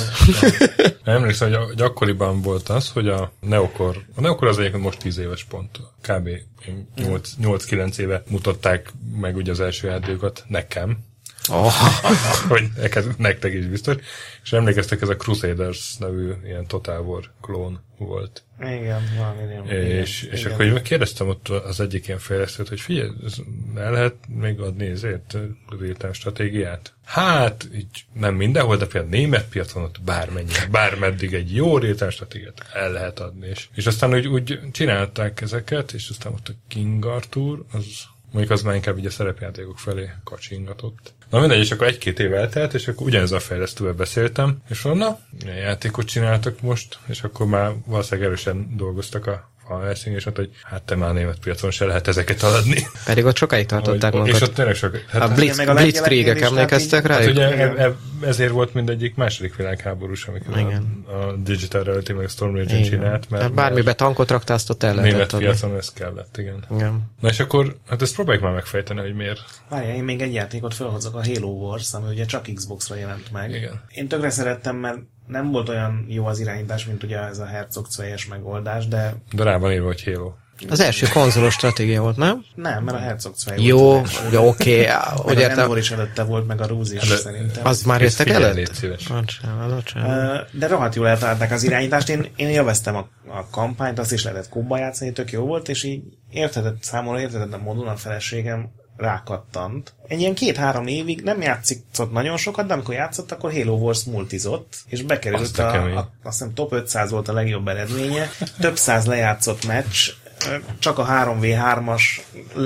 Emlékszem, hogy, a- hogy akkoriban volt az, hogy a Neokor, a Neokor az egyébként most 10 éves pont, kb. 8 8-9 éve mutatták meg ugye az első játékokat nekem,
Oh,
*laughs* hogy neked, nektek is biztos, és emlékeztek, ez a Crusaders nevű ilyen Total War klón volt.
Igen, valami nem.
És, és akkor így kérdeztem ott az egyik ilyen fejlesztőt, hogy figyelj, ez el lehet még adni ezért real stratégiát? Hát, így nem mindenhol, de például a német piacon ott bármennyi, bármeddig egy jó real stratégiát el lehet adni. És, és aztán úgy, úgy csinálták ezeket, és aztán ott a King Arthur, az mondjuk az már inkább így a szerepjátékok felé kacsingatott. Na mindegy, és akkor egy-két év eltelt, és akkor ugyanez a fejlesztővel beszéltem, és mondom, na, milyen játékot csináltak most, és akkor már valószínűleg erősen dolgoztak a Van Helsing, és mondta, hogy hát te már a német piacon se lehet ezeket eladni.
pedig ott sokáig
Hogy,
tartották
és
magukat.
ott tényleg sok... Hát,
A
hát
Blitz,
meg a lengyeleknél
Blitzkriegek
is, tehát
emlékeztek
így-
rá?
Hát ugye e, e, ezért volt mindegyik második világháborús, amikor
Igen.
a, a Digital Reality meg a Storm Agent csinált, mert
Tehát bármibe tankot Hát, raktál, azt ott el
a német
lehetett adni.
piacon ez kellett, igen.
Igen.
Na és akkor, hát ezt próbáljuk már megfejteni, hogy miért
Várjál, én még egy játékot felhozok, a Halo Wars, ami ugye csak Xbox-ra jelent meg.
Igen.
Én tökre szerettem, mert nem volt olyan jó az irányítás, mint ugye ez a Herzog 2 megoldás, de
De rá van írva, hogy Halo.
Az első konzolos stratégia volt, nem?
nem, mert a Herzog 2
Jó, jó, oké.
Meg
Hogy
a Nem
értem, Hát,
War is előtte volt, meg a Rúz is
De-
szerintem.
az már
Ezt
jöttek
figyelj,
előtt?
légy szíves.
Bocsánat, bocsánat.
Ö, De rohadt jól eltalálták az irányítást, én, én élveztem a, a kampányt, azt is lehetett kóba játszani, tök jó volt, és így értetett számomra, értetett módon a feleségem rákattant. Egy ilyen két-három évig nem játszott nagyon sokat, de amikor játszott, akkor Halo Wars multizott, és bekerült
Azt
azt
a
a,
kemény.
a, azt hiszem top 500 volt a legjobb eredménye, több száz lejátszott meccs, ö, csak a 3v3-as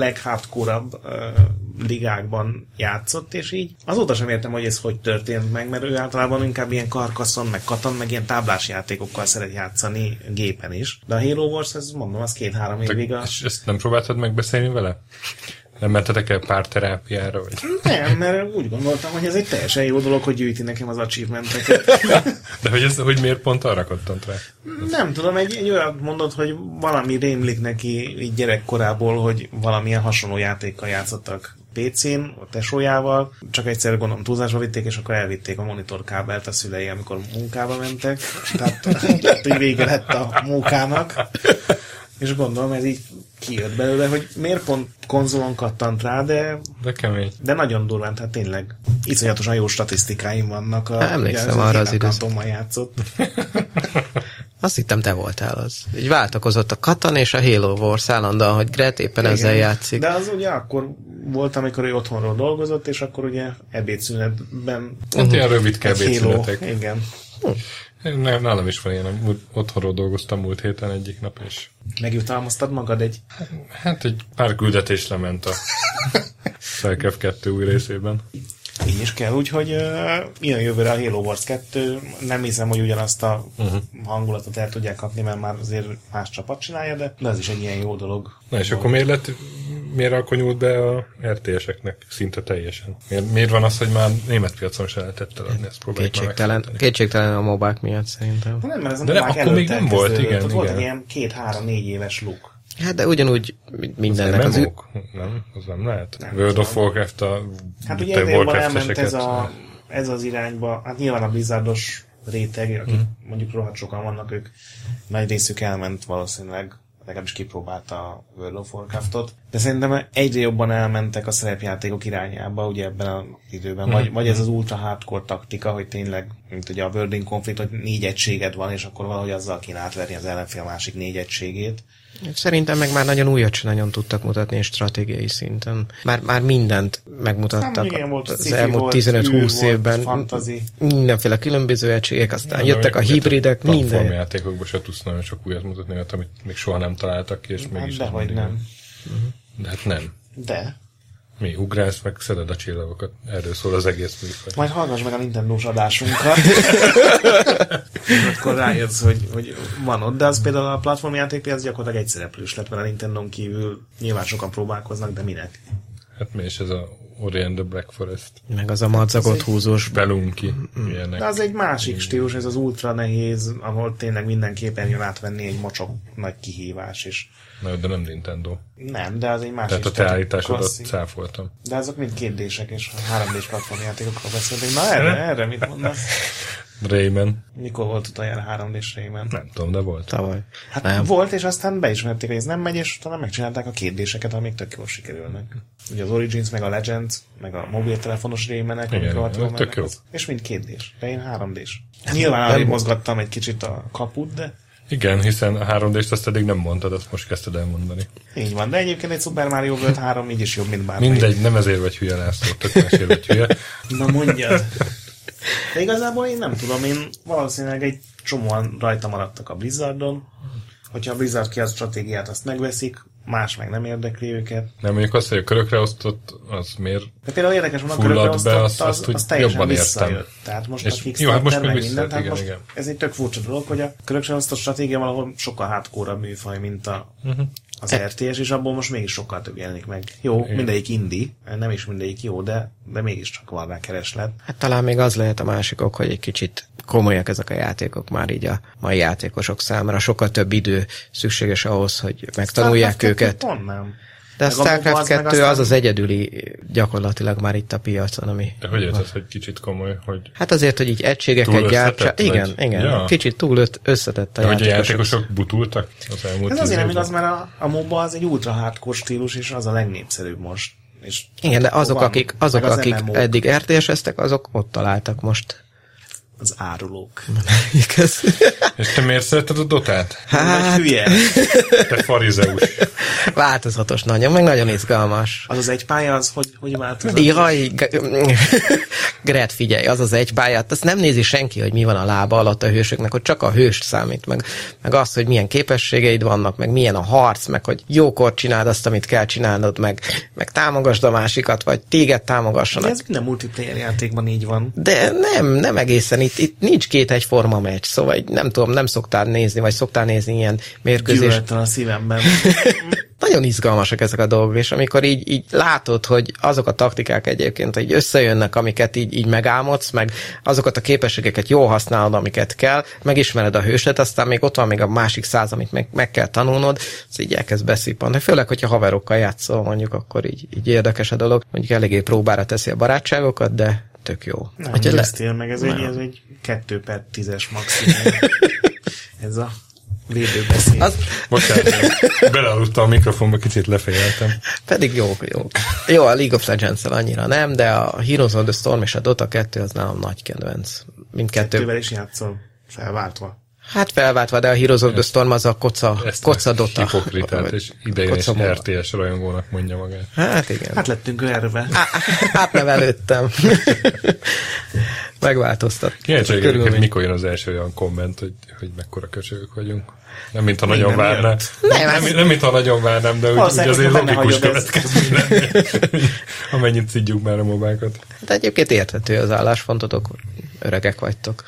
leghardcore-abb ö, ligákban játszott, és így azóta sem értem, hogy ez hogy történt meg, mert ő általában inkább ilyen karkaszon, meg katan, meg ilyen táblás játékokkal szeret játszani gépen is. De a Halo Wars, ez mondom, az két-három évig a...
És ezt nem próbáltad megbeszélni vele? Nem mentetek el párterápiára? Vagy?
Nem, mert úgy gondoltam, hogy ez egy teljesen jó dolog, hogy gyűjti nekem az achievementeket.
De hogy, ez, hogy miért pont arra kattant rá?
Nem tudom, egy, egy olyat mondott, hogy valami rémlik neki így gyerekkorából, hogy valamilyen hasonló játékkal játszottak PC-n, a tesójával, csak egyszer gondolom túlzásba vitték, és akkor elvitték a monitorkábelt a szülei, amikor munkába mentek. Tehát lett, hogy vége lett a munkának. És gondolom, ez így kijött belőle, hogy miért pont konzolon kattant rá, de,
De kemény.
de nagyon durván, tehát tényleg iszonyatosan jó statisztikáim vannak. A,
Hát emlékszem
ugye,
arra az
Hideg
időszak-
Antonmal játszott.
Azt hittem, te voltál az. Így váltakozott a Katan és a Halo Wars állandóan, hogy Gret éppen Igen. ezzel játszik.
De az ugye akkor volt, amikor ő otthonról dolgozott, és akkor ugye ebédszünetben
Hát ilyen rövid
egy
kb.
Halo,
szünetek.
Igen.
Nem, nálam is van ilyen, Múlt- otthonról dolgoztam múlt héten egyik nap, és
Megjutalmaztad magad egy...
hát egy pár küldetés lement
*laughs*
a Starcraft 2 új részében.
Így is kell, úgyhogy uh, ilyen jövőre a Halo Wars 2. Nem hiszem, hogy ugyanazt a uh-huh.
Mhm.
hangulatot el tudják kapni, mert már azért más csapat csinálja, de, de az is egy ilyen jó dolog.
Na és akkor miért lett, miért akkor nyúlt be a RTS-eknek szinte teljesen? Miért, miért van az, hogy már német piacon se lehetett eladni, ezt próbáljuk már
Kétségtelen,
megfejteni.
kétségtelen a mobák miatt szerintem.
Nem, mert ez
De nem,
már
akkor még nem
előtte
volt,
elkezdődött.
igen,
Ott Volt
igen.
egy ilyen két-három-négy éves luk.
Hát de ugyanúgy mindennek az, ő...
MMO-k? Nem, az nem lehet. Nem, World of Warcraft a
Hát
te
ugye idejében elment
Warcraft-eseket.
ez, a, ez az irányba, hát nyilván a Blizzardos réteg, akik
Mhm.
mm. mondjuk rohadt sokan vannak, ők nagy részük elment valószínűleg, legalábbis kipróbálta a World of Warcraftot, de szerintem egyre jobban elmentek a szerepjátékok irányába, ugye ebben az időben,
Mhm.
vagy, vagy ez az ultra hardcore taktika, hogy tényleg, mint ugye a World in Conflict, hogy négy egységed van, és akkor valahogy azzal kéne átverni az ellenfél másik négy egységét.
Szerintem meg már nagyon újat sem nagyon tudtak mutatni és stratégiai szinten. Már, már mindent
Hát
megmutattak
igen, volt
az
sci-fi,
elmúlt
volt
15-20
űr, volt
évben.
fantasy.
Mindenféle különböző egységek, aztán jöttek a hibridek,
A
minden.
játékokban se tudsz nagyon sok újat mutatni, mert amit még soha nem találtak ki, és
Hát
mégis...
dehogy
mindig-
nem.
De hát nem.
De.
Mi ugrálsz, meg szeded a csillagokat. Erről szól az egész műfaj.
Majd hallgass meg a Nintendo-s adásunkat. akkor rájössz, hogy, hogy van ott, de az például a platformjátékpiac gyakorlatilag egy szereplős lett, mert a Nintendo-n kívül nyilván sokan próbálkoznak, de minek?
Hát mi is ez a Ori and the Black Forest.
Meg az a madzagot húzós
Spelunky. Ilyenek.
De az egy másik stílus, ez az ultra nehéz, ahol tényleg minden képernyőn átvenni egy mocsok nagy kihívás, és
Na, jó, de nem Nintendo.
nem, de az egy másik
Tehát a te
stílus,
állításodat
klasszik.
cáfoltam.
De azok mind kérdések, és 3D-s platformjátékokról beszéltünk. Na
*laughs*
erre, erre mit mondasz?
Rayman.
Mikor volt utoljára 3D-s Rayman?
Nem tudom, de volt.
tavaly.
Hát
Nem.
nem. volt, és aztán beismerték, hogy ez nem megy, és utána megcsinálták a kérdéseket, amik tök jól sikerülnek. Ugye az Origins, meg a Legends, meg a mobiltelefonos rémenek, amik
igen,
rohadtul
tök
mennek,
jó. Hát
az- És mind kérdés, de én 3D-s. Nyilván arra mozgattam egy kicsit a kaput, de
Igen, hiszen a 3D-st azt eddig nem mondtad, azt most kezdted elmondani.
így van. De egyébként egy Super Mario World 3 így is jobb, mint bármelyik.
Mindegy, nem ezért vagy hülye, László, tök másért vagy hülye.
Na mondjad. De igazából én nem tudom, én valószínűleg egy csomóan rajta maradtak a Blizzardon. Hogyha a Blizzard ki a stratégiát, azt megveszik, más meg nem érdekli őket.
Nem mondjuk azt, hogy a körökre osztott, az miért?
De például érdekes, hogy a
Fulladt
körökre osztott,
be,
az,
azt-
az,
azt úgy
az teljesen
jobban értem.
visszajött. Tehát most
És-
a
jó, hát
Kickstarter
most
meg
már
minden,
visszajött,
tehát
igen,
hát most
igen.
ez egy tök furcsa dolog, hogy a körökre osztott stratégia valahol sokkal hátkórabb műfaj, mint a,
Mhm.
az RTS, és abból most mégis sokkal több jelenik meg. Jó, igen. mindegyik indi, nem is mindegyik jó, de, de mégiscsak van rá kereslet.
Hát talán még az lehet a másik ok, hogy egy kicsit komolyak ezek a játékok már így a mai játékosok számára. Sokkal több idő szükséges ahhoz, hogy megtanulják
Starcraft kettő
őket.
Hát, Pont nem.
De a
Meg abban
Starcraft
az meg
2 az
aztán-
az egyedüli gyakorlatilag már itt a piacon, ami...
De hogy érted, hogy kicsit komoly, hogy
Hát azért, hogy így egységeket
Túl
gyártsa.
összetett,
Igen,
vagy?
igen. Ja.
Ja.
Kicsit túl öt, összetett a
de hogy a
játékosok.
játékosok butultak az elmúlt
Ez
tíz
azért nem
évben?
igaz, mert a, a MOBA az egy ultra hardcore stílus, és az a legnépszerűbb most. És
Igen, de azok,
van,
akik, azok,
meg az
akik
MMO-k,
eddig RTS-eztek, azok ott találtak
*laughs*
most.
az árulók.
Igaz?
És te miért szereted a dotát?
Hát... Hülye.
Te farizeus.
Változatos nagyon, meg nagyon izgalmas.
Az az egy pálya, az hogy, hogy változott?
Jaj, g- *laughs* Gret, figyelj, az az egy pályát, azt nem nézi senki, hogy mi van a lába alatt a hősöknek, hogy csak a hős számít, meg, meg az, hogy milyen képességeid vannak, meg milyen a harc, meg hogy jókor csináld azt, amit kell csinálnod, meg, meg támogasd a másikat, vagy téged
De
támogassanak.
ez minden multiplayer játékban így van.
De nem, nem egészen. Itt, itt nincs két egyforma meccs, szóval így nem tudom, nem szoktál nézni, vagy szoktál nézni ilyen mérkőzést.
Gyűlöltem a szívemben.
nagyon izgalmasak ezek a dolgok, és amikor így, így látod, hogy azok a taktikák egyébként így összejönnek, amiket így, így megálmodsz, meg azokat a képességeket jól használod, amiket kell, megismered a hőset, aztán még ott van még a másik száz, amit meg, meg kell tanulnod, ez így elkezd beszippanni. Főleg, hogyha haverokkal játszol, mondjuk, akkor így, így érdekes a dolog. Mondjuk eléggé próbára teszi a barátságokat, de tök jó.
Nem
Hogyha le-
néztél meg, ez egy, ez egy 2 per 10-es maximum. ez a védőbeszéd.
Az
Az...
Bocsánat, belealudtam a mikrofonba, kicsit lefejeltem.
pedig jó, jó. Jó, a League of legends annyira nem, de a Heroes of the Storm és a Dota 2 az nálam nagy kedvenc. Mindkettő.
Tővel is játszol, felváltva.
Hát felváltva, de a Heroes of the Storm az a koca,
Ezt
koca
a
Dota.
Hipokritát
Vagy
és idejes
koca MOBA.
RTS rajongónak mondja magát.
Hát igen.
Hát lettünk erve.
Á- Átnevelődtem. Megváltoztat.
Kíváncsi vagyok, egyébként,
Körülmény.
mikor jön az első olyan komment, hogy, hogy mekkora köcsögök vagyunk. Nem, mintha nagyon
nem
várná. Nem, nem, nem, mintha nagyon várnám, de úgy, úgy
Valószínűleg
azért
akkor benne
logikus
hagyod ezt.
következmény. Amennyit szidjuk már a mobákat.
De Hát egyébként érthető az álláspontotok,
*laughs*
öregek vagytok.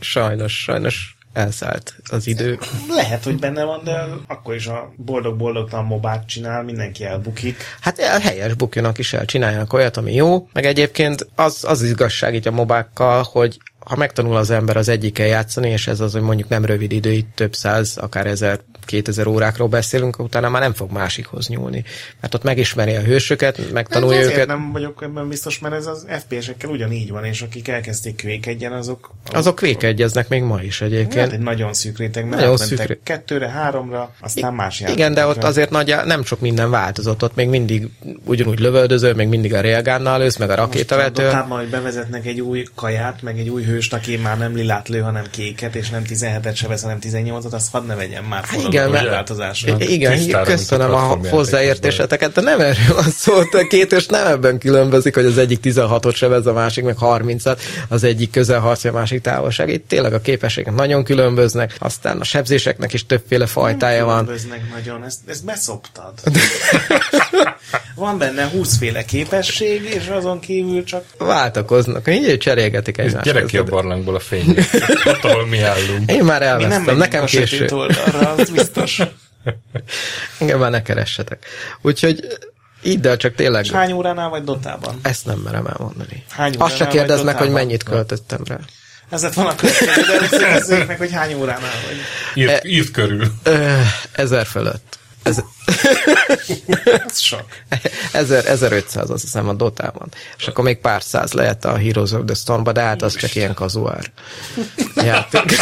sajnos, sajnos elszállt az idő.
Lehet, hogy benne van, de akkor is a boldog-boldogtalan mobát csinál, mindenki elbukik.
Hát el- helyes bukjanak is el, csináljanak olyat, ami jó, meg egyébként az, az igazság így a mobákkal, hogy ha megtanul az ember az egyikkel játszani, és ez az, hogy mondjuk nem rövid idő, itt több száz, akár ezer, kétezer órákról beszélünk, utána már nem fog másikhoz nyúlni. Mert ott megismeri a hősöket, megtanulja
Hát Azért
őket.
nem vagyok ebben biztos, mert ez az FPS-ekkel ugyanígy van, és akik elkezdték kvékedjen, azok
Azok vékegyeznek még ma is
Hát
egyébként.
egy nagyon szűk réteg, mert
Nagyon
nagyon
szűk ré-
szűk. kettőre, háromra, aztán más játékokra.
Igen, de ott azért nagy, nem sok minden változott, ott még mindig ugyanúgy lövöldözöl, még mindig a railgunnal lősz, meg a rakétavető.
Dotában, hogy bevezetnek egy új kaját, meg egy új hőst, aki már nem lilát lő, hanem kéket, és nem 17-et se vesz, hanem 18-at, azt hadd ne vegyem már
Hát igen,
forradalmi
mert-
változásra.
Hát
Igen,
tisztára, mint a
köszönöm a
platformjátékos
hozzáértéseteket, de nem erről van szó, a két és nem ebben különbözik, hogy az egyik 16-ot sebez, a másik meg 30-at, az egyik közelharc, a másik távolság. Itt tényleg a képességek nagyon különböznek, aztán a sebzéseknek is többféle fajtája van.
Különböznek nagyon, ezt, ezt beszoptad. Van benne 20 féle képesség, és azon kívül csak
Váltakoznak, így cserélgetik
Ez
egymást.
gyere ki a barlangból a fény. Ott, ahol mi állunk.
Én már
mi nem
elvesztem,
megyünk
nekem
a
késő.
sötét oldalra, az biztos.
Engem már ne keressetek. Úgyhogy eh, így, de csak tényleg
És hány óránál vagy dotában?
ezt nem merem elmondani.
Hány
Azt se
óránál vagy
kérdeznek, hogy
Dotában?
mennyit költöttem rá.
Ez lett volna a következő, de először nézzük meg, hogy hány óránál vagy.
Írt,
E-
írt körül.
Ö, Eh, Ezer fölött. Ez,
Ez sok.
*laughs* 1000, 1500 azt hiszem a Dotában. És akkor még pár száz lehet a Heroes of the Stormba, de hát az csak ilyen kazuár játék.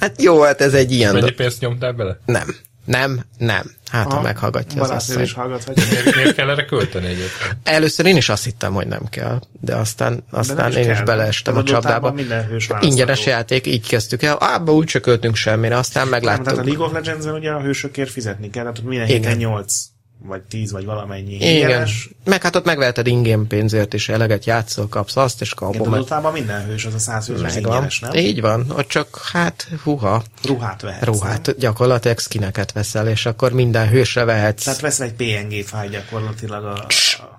hát jó, hát ez egy ilyen...
Mennyi
Do-
pénzt nyomtál bele?
nem, nem, nem. Hát, ha meghallgatja az
Barátnő
asszony.
is hallgathatja.
Miért, miért kell erre költeni egyébként?
Először én is azt hittem, hogy nem kell, de aztán, aztán
is
én is
kell.
beleestem a
Az adott
csapdába.
tárban minden hős választható.
Ingyenes játék, így kezdtük el. Ábba úgy se költünk semmire, aztán
Nem, tehát a
megláttuk.
League of Legends-ben ugye a hősökért fizetni kell, tehát ott minden
Igen.
héten 8 vagy 10 vagy valamennyi
Igen.
ingyenes.
Meg hát ott megveheted ingén pénzért is, eleget játszol, kapsz azt, és
Igen,
kapom.
de Dotában minden hős az a 150
Megvan.
ingyenes, nem?
Így van, ott csak hát huha,
Ruhát vehetsz. nem?
ruhát, hát gyakorlatilag skineket veszel, és akkor minden hősre vehetsz.
Hát,
Tehát veszel egy PNG fáj gyakorlatilag a, a,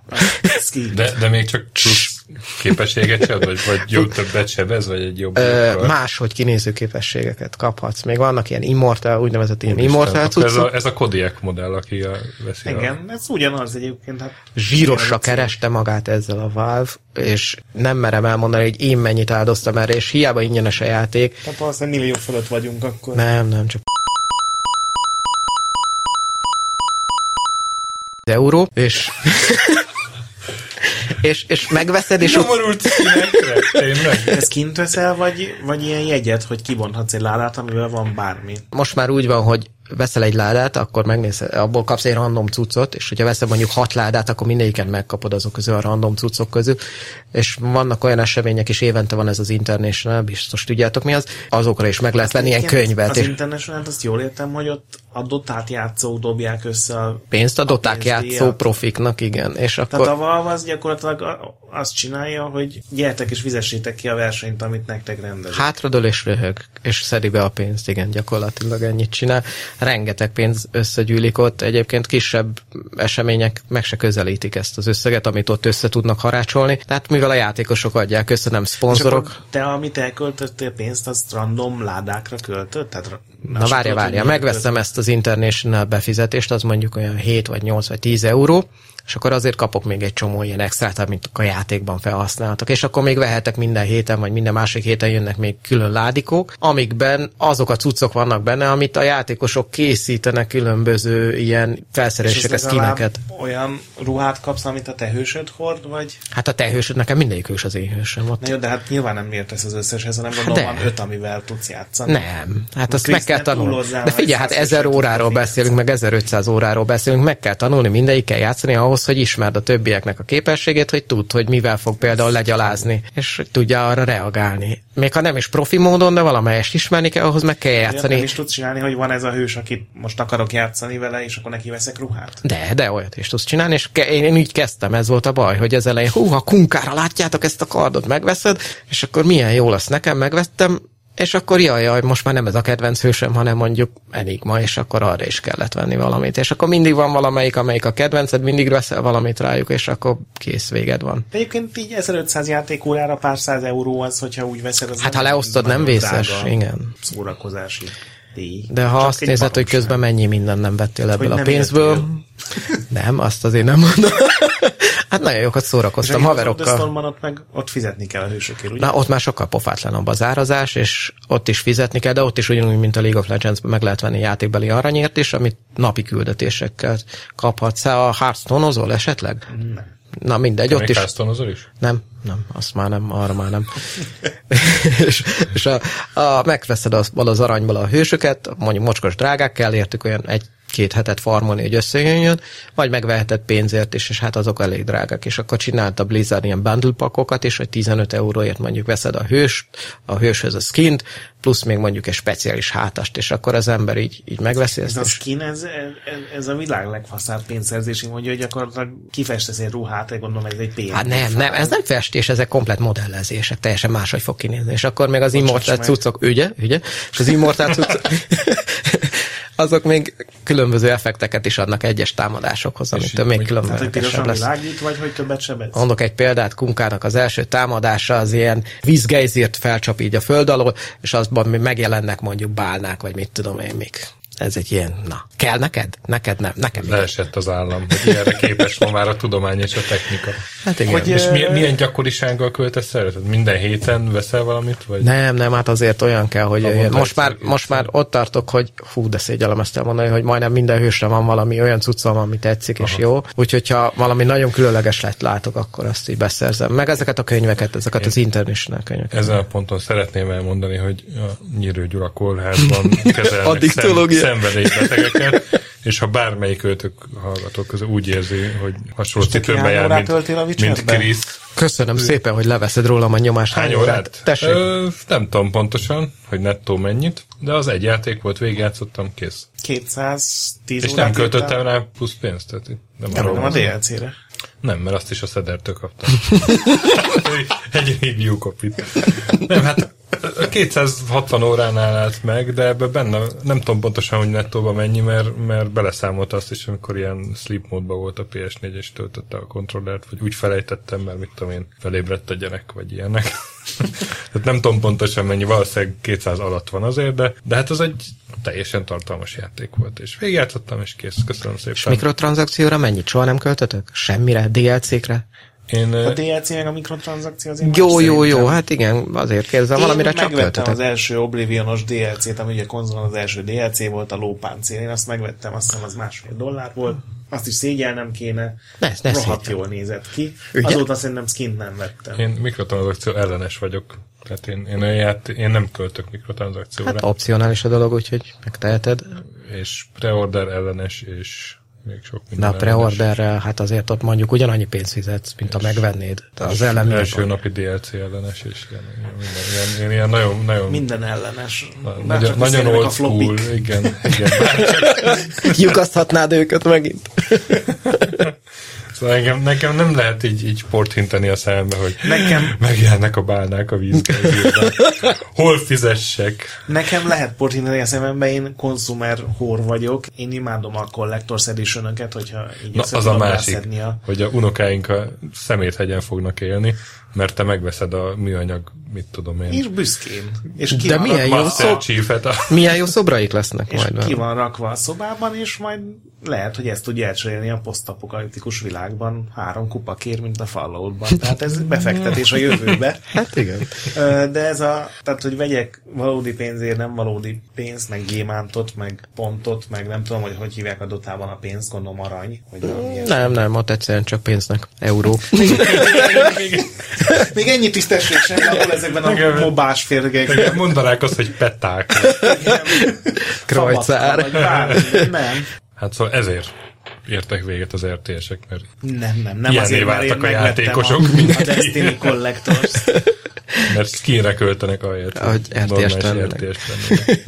a ski.
De, de még csak plusz képességet sem, vagy, vagy jó többet sebez, vagy egy jobb.
Ö, máshogy kinéző képességeket kaphatsz. Még vannak ilyen immortal, úgynevezett ilyen immortal
Akkor ez
cuccok.
a, ez a Kodiak modell, aki a, veszi a
Igen, ez ugyanaz egyébként. Hát,
Zsírosra kereste magát ezzel a Valve, és nem merem elmondani, hogy én mennyit áldoztam erre, és hiába ingyenes a játék.
Tehát valószínűleg millió fölött vagyunk akkor.
Nem, nem, csak euró, és
*laughs*
és, és megveszed, és ut-
nyomorult színekre, tényleg.
Ezt kint veszel, vagy, vagy ilyen jegyet, hogy kibonthatsz egy ládát, amivel van bármi.
most már úgy van, hogy veszel egy ládát, akkor megnézed, abból kapsz egy random cuccot, és hogyha veszel mondjuk hat ládát, akkor mindegyiken megkapod azok közül a random cuccok közül, és vannak olyan események is, évente van ez az International, biztos tudjátok mi az, azokra is meg lehet venni ilyen
Igen,
könyvet,
Az
és
international azt jól értem, hogy ott a dotát játszók dobják össze a
pénzt a doták
pénzdíjat.
játszó profiknak, igen, és
Tehát a
akkor
Valve az gyakorlatilag a- azt csinálja, hogy gyertek és fizessétek ki a versenyt, amit nektek rendez.
hátradől és röhög, és szedi be a pénzt, igen, gyakorlatilag ennyit csinál. rengeteg pénz összegyűlik ott, egyébként kisebb események meg se közelítik ezt az összeget, amit ott össze tudnak harácsolni. Tehát mivel a játékosok adják össze, nem
És
szponzorok.
akkor te, amit elköltöttél pénzt, azt random ládákra költött? Tehát, ra-
Na
azt
várja,
tudod,
várja,
hogy
megveszem ezt az International befizetést, az mondjuk olyan 7 vagy 8 vagy 10 euró, és akkor azért kapok még egy csomó ilyen extrát, amit a játékban felhasználhatok. És akkor még vehetek minden héten, vagy minden másik héten jönnek még külön ládikók, amikben azok a cuccok vannak benne, amit a játékosok készítenek különböző ilyen
És ez
felszereléseket,
legalább
skineket.
olyan ruhát kapsz, amit a te hősöd hord, vagy?
Hát a te hősöd, nekem mindegyik hős az én hősöm
Na
ott.
jó, de hát nyilván nem értesz az összeshez, hanem gondolom
Hát de.
van öt, amivel tudsz játszani.
Nem, hát azt
Krisz,
meg kell
ne
tanulni.
túlozzál,
De
vagy
figyelj, hát
100
ezer
eset
óráról
tudsz
beszélünk, meg 1500 óráról beszélünk, meg kell tanulni, mindegyikkel játszani ahhoz, hogy ismerd a többieknek a képességét, hogy tudd, hogy mivel fog például legyalázni, és hogy tudja arra reagálni. Még ha nem is profi módon, de valamelyest ismerni kell, ahhoz meg kell
Olyat nem
játszani.
is tudsz csinálni, hogy van ez a hős, akit most akarok játszani vele, és akkor neki veszek ruhát.
De, de olyat is tudsz csinálni, és ke- én, én így kezdtem, ez volt a baj, hogy az elején, hú, ha kunkára látjátok ezt a kardot, megveszed, és akkor milyen jó lesz nekem, megvettem, és akkor jaj, jaj, most már nem ez a kedvenc hősöm, hanem mondjuk Enigma, és akkor arra is kellett venni valamit. És akkor mindig van valamelyik, amelyik a kedvenced, mindig veszel valamit rájuk, és akkor kész véged van.
De egyébként így 1500 játékórára pár száz euró az, hogyha úgy veszed. Az
Hát
nem
ha leosztod, nem
nagyon
vészes,
drága
igen.
Szórakozási díj.
De ha
Csak
azt
egy
nézed, hogy
baromság.
közben mennyi minden nem vettél ebből
hogy
a
nem
pénzből, nem, azt azért nem mondom. *laughs* hát nagyon jókat
És
szórakoztam
egyébként Az
haverokkal.
Thunderstormban ott meg ott fizetni kell a hősökért, ugye?
Na, ott már sokkal pofátlanabb az árazás, és ott is fizetni kell, de ott is ugyanúgy, mint a League of legends meg lehet venni játékbeli aranyért is, amit napi küldetésekkel kaphatsz. A hearthstone esetleg? Nem. Na mindegy, ott
Még
is.
Hearthstone-ozol is?
Nem, nem, azt már nem, arra már nem. *laughs* és és a, a, megveszed abból az aranyból a hősöket, mondjuk mocskos drágák kell, értük olyan egy-két hetet farmolni, hogy összejönjön, vagy megveheted pénzért is, és hát azok elég drágák. És akkor csinált a Blizzard ilyen bundle pakokat is, hogy 15 euróért mondjuk veszed a hős, a hőshöz a skint, plusz még mondjuk egy speciális hátast, és akkor az ember így, így megveszi
Ez
ezt.
a
és-
skin, ez, ez, ez a világ legfaszább pénzszerzési mondja, hogy gyakorlatilag kifestesz egy ruhát, egy gondolom ez egy pénz.
Hát nem, nem, ez nem festés, ezek komplet modellezések, teljesen máshogy fog kinézni. És akkor még az immortál
meg.
cuccok, ügye, ügye, és az immortál cuccok, *laughs* azok még különböző effekteket is adnak egyes támadásokhoz, amitől még
Tehát, hogy
különbözősebb
pirosan
lesz.
világít, vagy hogy többet sebez?
Mondok egy példát, Kunkának az első támadása az ilyen vízgejzért felcsap így a föld alól, és azban még megjelennek mondjuk bálnák, vagy mit tudom én mik. Ez egy ilyen, na, kell neked? Neked nem, nekem igen.
Leesett az állam, hogy ilyenre képes ma már a tudomány és a technika.
Hát igen.
Hogy,
És mi, milyen gyakorisággal költesz el? Tehát minden héten veszel valamit? Vagy?
Nem, nem, hát azért olyan kell, hogy jöjjön.
mondta
Most már,
egyszer,
most már ott tartok, hogy hú, de szégyellem ezt elmondani, hogy majdnem minden hősre van valami olyan cuccom, ami tetszik és jó. Úgyhogy ha valami nagyon különleges lett látok, akkor azt így beszerzem. Meg ezeket a könyveket, ezeket az international könyveket.
Ezen a ponton szeretném elmondani, hogy a Nyírő Gyula kórházban
*laughs*
kezelnek szem,
Addiktológia.
szenvedélybetegeket, és ha bármelyik őtök hallgatók közül úgy érzi, hogy hasonló
te
cipőben
kihány
jár,
órát töltél a
mint, mint
Witcherben?
Krisz.
Köszönöm szépen, hogy leveszed rólam a nyomást.
Hány órát?
Tessék.
Ö, nem tudom pontosan, hogy nettó mennyit, de az egy játék volt, végigjátszottam, kész.
210
És
órát
nem költöttem
írtál?
rá plusz pénzt, tehát itt hát nem,
Nem,
arról
nem a
van szó.
DLC-re.
Nem, mert azt is a szedertől kaptam. Egy régi jó kopit. Nem, hát a 260 óránál állt meg, de ebbe benne, nem tudom pontosan, hogy nettóba mennyi, mert, mert beleszámolta azt is, amikor ilyen sleep módban volt a PS4, és töltötte a kontrollert, vagy úgy felejtettem, mert mit tudom én, felébredt a gyerek, vagy ilyenek. *laughs* Tehát nem tudom pontosan mennyi, valószínűleg 200 alatt van azért, de, de hát az egy teljesen tartalmas játék volt, és végigjátszottam, és kész, köszönöm szépen.
És mikrotranszakcióra mennyit? Soha nem költötök? Semmire? DLC-re?
Én,
A DLC meg a mikrotranszakció azért
Jó,
más
jó, jó,
szerintem.
hát igen, azért kérdezem, valamire
Én
csak
megvettem
költötök.
az első Oblivionos DLC-t, ami ugye konzolon az első DLC volt, a lópáncél. Én azt megvettem, azt hiszem az másfél dollár volt. Azt is szégyelnem kéne.
Ne- ne
Rohadt
szégyeld.
jól nézett ki.
Ugye?
Azóta szerintem skint nem vettem.
Én mikrotranszakció ellenes vagyok. Tehát én, én, olyan ját, én nem költök mikrotranszakcióra.
Hát opcionális a dolog, úgyhogy megteheted.
és preorder ellenes, és még sok
De
minden.
a
ellenes.
preorderrel, hát azért ott mondjuk ugyanannyi pénzt fizetsz, mint ha megvennéd. De az ellen mi a
Első
baj?
napi DLC ellenes, és ilyen, ilyen, minden, ilyen, én ilyen nagyon, nagyon,
Minden ellenes. Bár
nagyon,
csak
nagyon
visszajönnek a
old school,
flopik.
igen, igen. Bár csak
Lyukaszthatnád őket megint.
Szóval engem, nekem nem lehet így, így porthinteni a szemembe, hogy
Nekem-
megjelennek a bálnák a vízgázírban. Hol fizessek?
Nekem lehet portintani a szemembe, én konzumer hór vagyok, én imádom a Collector's edition hogyha így
Na,
össze
az a
tudom
másik,
rászedni a...
hogy a unokáink a szeméthegyen fognak élni, mert te megveszed a műanyag, mit tudom én,
És büszkén. És ki
De
van
milyen
rakva
jó
a-
Master Chief-et *laughs* a
Milyen jó szobraik lesznek
és
majd. benne.
ki van rakva a szobában, és majd lehet, hogy ezt tudja elcserélni a posztapokaliptikus világban három kupa kér, mint a Falloutban. Tehát ez befektetés a jövőbe.
Hát igen.
Ö, De ez a, tehát hogy vegyek valódi pénzért nem valódi pénzt, meg gyémántot, meg pontot, meg nem tudom, hogy hogy hívják a dotában a pénzt, gondolom arany, hogy valami ilyesmi.
Nem, nem, ott egyszerűen csak pénznek. Euró.
Még ennyi tisztesség sem, ahol ezekben a
Igen.
mobás férgek.
Igen, mondanák azt, hogy peták.
Krajcár.
Nem,
Hát szóval ezért értek véget az RTS-ek, mert
nem, nem, nem
Ilyenné
azért, mert én
váltak a
megvettem
játékosok,
a, a
mindenki.
Destiny Collectors.
mert skinre költenek ahelyett.
Ahogy
hogy
RTS
normális
lennének.
RTS-t lennének.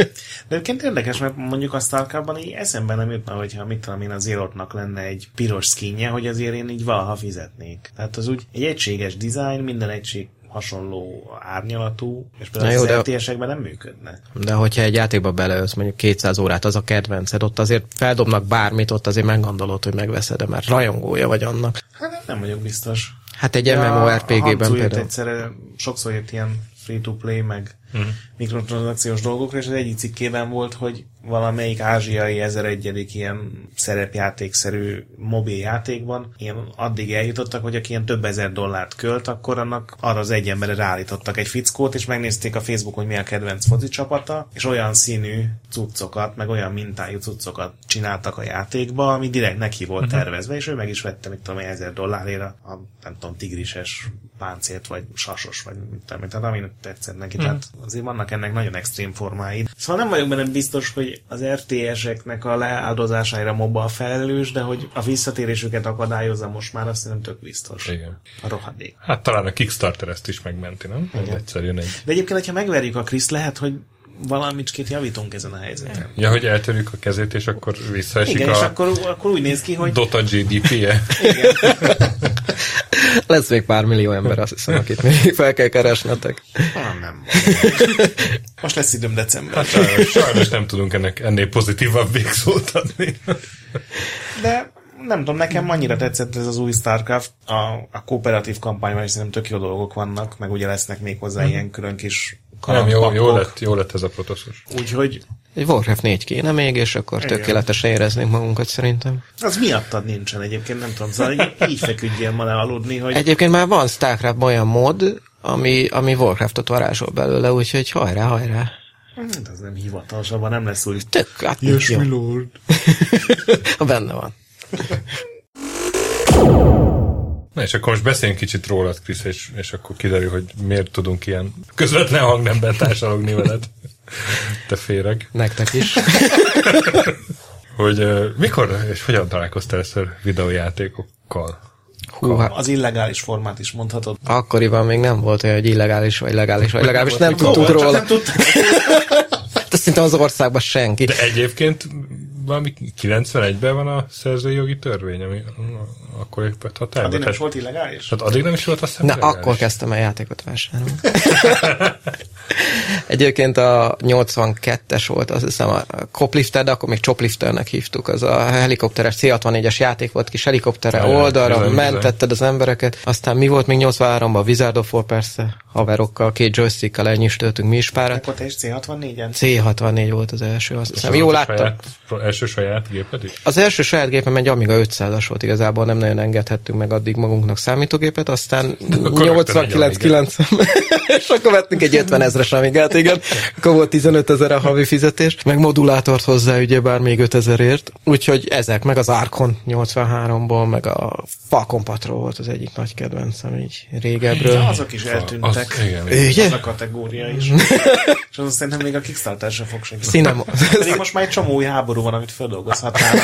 De egyébként érdekes, mert mondjuk a Starcraftban így eszembe nem jutna, hogyha mit tudom én az Zerotnak lenne egy piros skinje, hogy azért én így valaha fizetnék. Tehát az úgy egy egységes design, minden egység hasonló árnyalatú, és például
Na
jó,
jó, de-
az RTS-ekben nem működne.
De hogyha egy játékba beleölsz mondjuk 200 órát, az a kedvenced, ott azért feldobnak bármit, ott azért meggondolod, hogy megveszed -e, mert rajongója vagy annak.
Hát nem vagyok biztos.
Hát egy MMORPG-ben
például.
például.
Egyszerre, sokszor jött ilyen free-to-play, meg mm. mikrotranszakciós dolgokra, és az egyik cikkében volt, hogy valamelyik ázsiai 1001. ilyen szerepjátékszerű mobil játékban ilyen addig eljutottak, hogy aki ilyen több ezer dollárt költ, akkor annak arra az egy emberre ráállítottak egy fickót, és megnézték a Facebookon, hogy mi a kedvenc foci csapata, és olyan színű cuccokat, meg olyan mintájú cuccokat csináltak a játékba, ami direkt neki volt
Mhm.
tervezve, és ő meg is vette, mit tudom, én, 1000 dollárért a, a, nem tudom, tigrises páncélt, vagy sasos, vagy mit tudom, én, tehát aminek tetszett neki.
Mhm.
Tehát azért vannak ennek nagyon extrém formái. Szóval nem vagyok benne biztos, hogy az RTS-eknek a leáldozására mobba a felelős, de hogy a visszatérésüket akadályozza most már, azt nem tök biztos.
Igen.
A rohadék.
Hát talán a Kickstarter ezt is megmenti, nem? Igen. Egyszer jön egy...
De egyébként, hogyha megverjük a Krisz, lehet, hogy valamicskét javítunk ezen a helyzeten.
Ja, hogy eltörjük a kezét, és akkor visszaesik
Igen,
a
és akkor, akkor úgy néz ki, hogy
Dota GDP-je.
Lesz még pár millió ember, azt hiszem, akit még *laughs* fel kell keresnetek.
Ah,
*laughs*
nem. Most lesz időm december.
Hát sajnos, sajnos nem tudunk ennek ennél pozitívabb végszót adni.
De nem tudom, nekem annyira tetszett ez az új StarCraft. A, a kooperatív kampányban is szerintem tök jó dolgok vannak, meg ugye lesznek még hozzá ilyen külön kis
Mhm. Nem, jó, jó,
kalandpakok.
lett, jó lett ez a protoszos.
Úgyhogy
Egy Warcraft 4 kéne még, és akkor
Igen.
tökéletesen éreznénk magunkat szerintem.
az miattad nincsen egyébként, nem tudom. Szóval így- így feküdjél ma le aludni, hogy
Egyébként már van Starcraft olyan mod, ami, ami Warcraftot varázsol belőle, úgyhogy hajrá, hajrá.
hát az nem hivatalos, abban nem lesz új.
Tök, hát jó.
lord.
*laughs* Benne van.
Na és akkor most beszéljünk kicsit rólad, Krisz, és, és akkor kiderül, hogy miért tudunk ilyen közvetlen hangnemben társalogni veled. Te féreg.
Nektek is.
Hogy uh, mikor és hogyan találkoztál először videójátékokkal?
Hú, hát
Az illegális formát is mondhatod.
akkoriban még nem volt olyan, hogy illegális vagy legális, vagy legalábbis nem
mikor
tudtuk
volt,
Csak
róla.
nem tudtam.
Hát azt szinte az országban senki.
De egyébként valami 91-ben van a szerzői jogi törvény, ami a- akkor lépett hatályba.
Addig nem is
Tehát,
volt illegális?
tehát addig nem is volt a hiszem.
Na,
legális.
akkor kezdtem el játékot vásárolni. *laughs* Egyébként a 82-es volt, azt hiszem a Coplifter, de akkor még Choplifternek hívtuk, az a helikopteres C64-es játék volt, kis helikoptere
Ja,
ja,
ja,
oldalra,
bizony, bizony.
mentetted az embereket. Aztán mi volt még 83-ban? A Wizard of War persze, haverokkal, két joystickkal elnyistöltünk mi is párat.
Akkor te is C64-en?
C64 volt az első, azt
És
hiszem.
az
Jól
volt a
láttam.
Saját, első saját géped is?
Az első saját gépem egy Amiga 500-as volt igazából, nem nagyon engedhettünk meg addig magunknak számítógépet, aztán
*laughs* akkor rögtön egy
89 9 *laughs* és akkor vettünk egy 50 ezres Amigát, igen, akkor volt 15 ezer a havi fizetés, meg modulátort hozzá ugyebár még 5 ezerért, úgyhogy ezek, meg az Arkon 83-ból, meg a Falcon Patrol volt az egyik nagy kedvencem így régebről.
Ja, azok is eltűntek.
Az, igen, igen.
Ugye?
az a kategória is.
Mm.
És azon szerintem még a Kickstarter sem fog segíteni.
*laughs* Cinema.
Pedig most már egy csomó új háború van, amit feldolgozhatnál.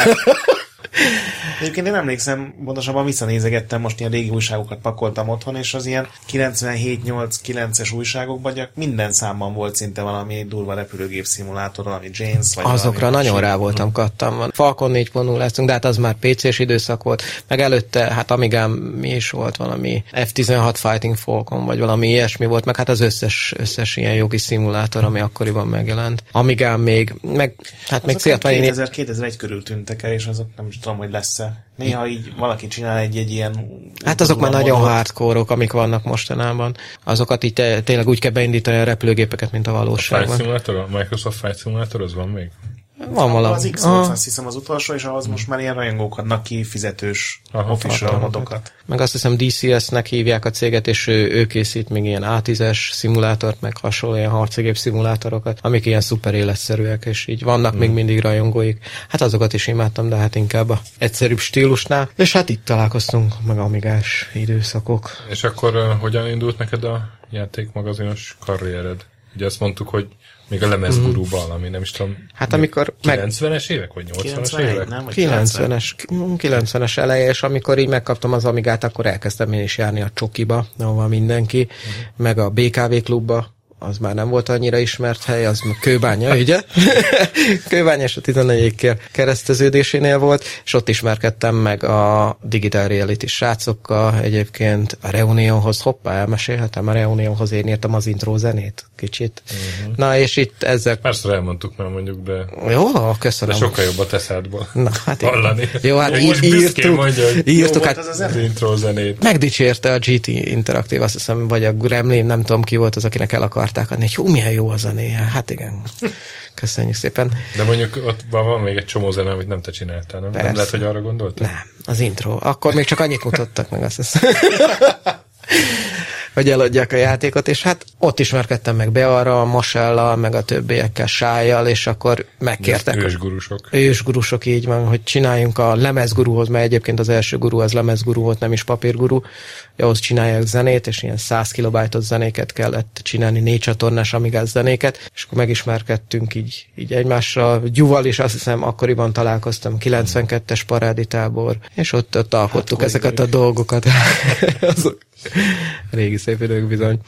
Egyébként én emlékszem, pontosabban visszanézegettem, most ilyen régi újságokat pakoltam otthon, és az ilyen 97-8-9-es újságokban gyak minden számban volt szinte valami durva repülőgép szimulátor, valami James, vagy
Azokra
valami
nagyon
másik.
rá voltam kattam. van. Falcon 4.0 leszünk, de hát az már PC-s időszak volt. Meg előtte, hát amigám mi is volt valami F-16 Fighting Falcon, vagy valami ilyesmi volt, meg hát az összes, összes ilyen jogi szimulátor, ami akkoriban megjelent. Amigám még, meg hát még
Azok
Seattle
2000, 2001 körül tűntek el, és azok nem is tudom, hogy lesz-e. Néha így valaki csinál egy-egy ilyen...
Hát azok már nagyon
uralmat.
hardcore amik vannak mostanában. Azokat így te, tényleg úgy kell beindítani a repülőgépeket, mint a
Flight
valóságban.
Simulator, a Microsoft Flight Simulator, az van még?
Van valami.
Az x
Aha.
azt hiszem az utolsó, és ahhoz most már ilyen rajongók adnak ki fizetős
Aha,
official
tartalmat.
modokat.
Meg azt hiszem DCS-nek hívják a céget, és ő, ő készít még ilyen A10-es szimulátort, meg hasonló ilyen harcigép szimulátorokat, amik ilyen szuper életszerűek, és így vannak még mindig rajongóik. Hát azokat is imádtam, de hát inkább a egyszerűbb stílusnál. És hát itt találkoztunk, meg amigás időszakok.
És akkor ö, hogyan indult neked a játékmagazinos karriered? Ugye azt mondtuk, hogy még a lemezgurúban, ami nem is tudom,
Hát amikor Mm. meg,
90-es évek, vagy 80-as
91,
Szóval évek?
nem? Vagy 90?
90-es, 90-es mm, eleje, és amikor így megkaptam az Amigát, akkor elkezdtem én is járni a Csokiba, ahova mindenki, uh-huh. meg a BKV klubba, az már nem volt annyira ismert hely, az m- kőbánya, ugye? *laughs* kőbánya és a 14 kér kereszteződésénél volt, és ott ismerkedtem meg a digital reality srácokkal, egyébként a Reunionhoz, hoppá, elmesélhetem, a Reunionhoz én írtam az intro zenét, kicsit. Uh-huh. Na, és itt ezzel...
Persze elmondtuk már mondjuk, de,
Jó,
de
köszönöm.
sokkal jobb a teszádból.
Na, hát igen.
Hallani.
Jó, hát
Most
í-
büszkén
írtuk,
mondja, hogy
Jó
írtuk,
volt
hát
az a
az
zene?
intro zenét.
megdicsérte a GT Interactive, azt hiszem, vagy a Gremlin, nem tudom ki volt az, akinek el akarták adni, hogy hú, milyen jó a zenéje. Hát igen, köszönjük szépen.
De mondjuk ott van van még egy csomó zene, amit nem te csináltál, nem?
Persze.
Nem lehet, hogy arra gondoltál?
Nem, az intro. Akkor még csak annyit mutattak meg, azt hiszem. hogy eladják a játékot, és hát ott ismerkedtem meg Bearral, Masellal, meg a többiekkel, Sájjal, és akkor megkértek.
Ős gurusok.
ősgurusok így van, hogy csináljunk a lemezgurúhoz, mert egyébként az első gurú az lemezgurú volt, nem is papírgurú, ahhoz csinálják zenét, és ilyen 100 kilobájtos zenéket kellett csinálni, négy csatornás amigás zenéket, és akkor megismerkedtünk így, így egymással, Gyuval is azt hiszem akkoriban találkoztam, 92-es paráditábor, és ott, ott alkottuk
hogy
ezeket a dolgokat. *laughs* Azok régi szép idők bizony.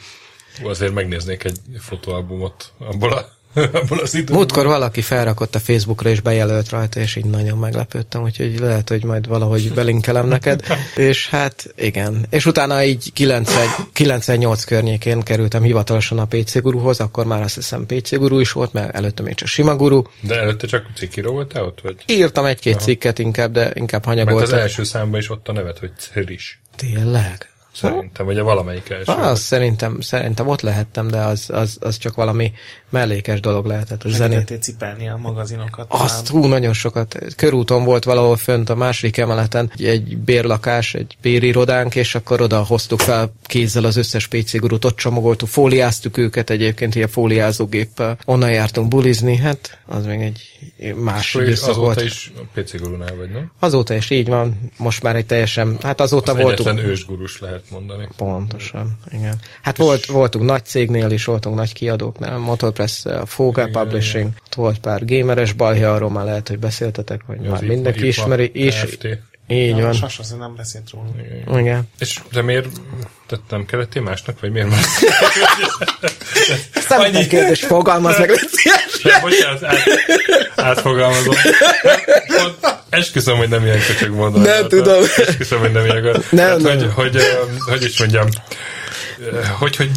Ú, Azért megnéznék egy fotóalbumot abból, a, *laughs* abból az időből.
Múltkor valaki felrakott a Facebookra, és bejelölt rajta, és így nagyon meglepődtem, úgyhogy lehet, hogy majd valahogy belinkelem
*laughs*
neked. És hát igen. És utána így 90, 98 környékén kerültem hivatalosan a PC guruhoz, akkor már azt hiszem PC guru is volt, mert előtte még csak sima guru.
De előtte csak cikkíró voltál ott, vagy?
Írtam egy-két cikket inkább, de inkább
Mert az
hanyagoltam.
első számban is ott a nevet, hogy Ciris.
Tényleg?
Szerintem, ugye valamelyik első.
Ah, az szerintem, szerintem ott lehettem, de az, az, az csak valami mellékes dolog lehetett. A zenét
Zenét. cipelni a magazinokat.
Azt hú, nagyon sokat. Körúton volt valahol fönt a második emeleten egy bérlakás, egy bérirodánk, és akkor oda hoztuk fel kézzel az összes PC gurút, ott csomagoltuk, fóliáztuk őket egyébként ilyen fóliázógéppel. Onnan jártunk bulizni, hát az még egy más
Akkor
időszak
azóta
volt. Is.
is a PC gurunál vagy, nem?
Azóta is így van, most már egy teljesen, hát azóta
Az
voltunk.
egyetlen ősgurus lehet mondani.
Pontosan, igen. Hát volt, voltunk nagy cégnél is, voltunk nagy kiadóknál, Motorpress, a Fogel Publishing, ott volt pár gameres balhja, arról már lehet, hogy beszéltetek, hogy már
Az
mindenki
IPA
ismeri, és
Kft.
így
Így van.
van.
Hát, Sasa szerintem nem beszélt róla.
Igen.
És de miért tehát nem kerettél másnak, vagy
*laughs*
miért más?
Szerintem kérdés fogalmaz meg. légy szíves.
Nem, bocsánat, át, átfogalmazom. Pont Esküszöm, hogy nem ilyen köcsög mondom.
Nem
Hát,
tudom.
Esküszöm, hogy nem ilyen Nem,
Nem, nem.
Hogy, hogy, öm, hogy is mondjam, ö, hogy, hogy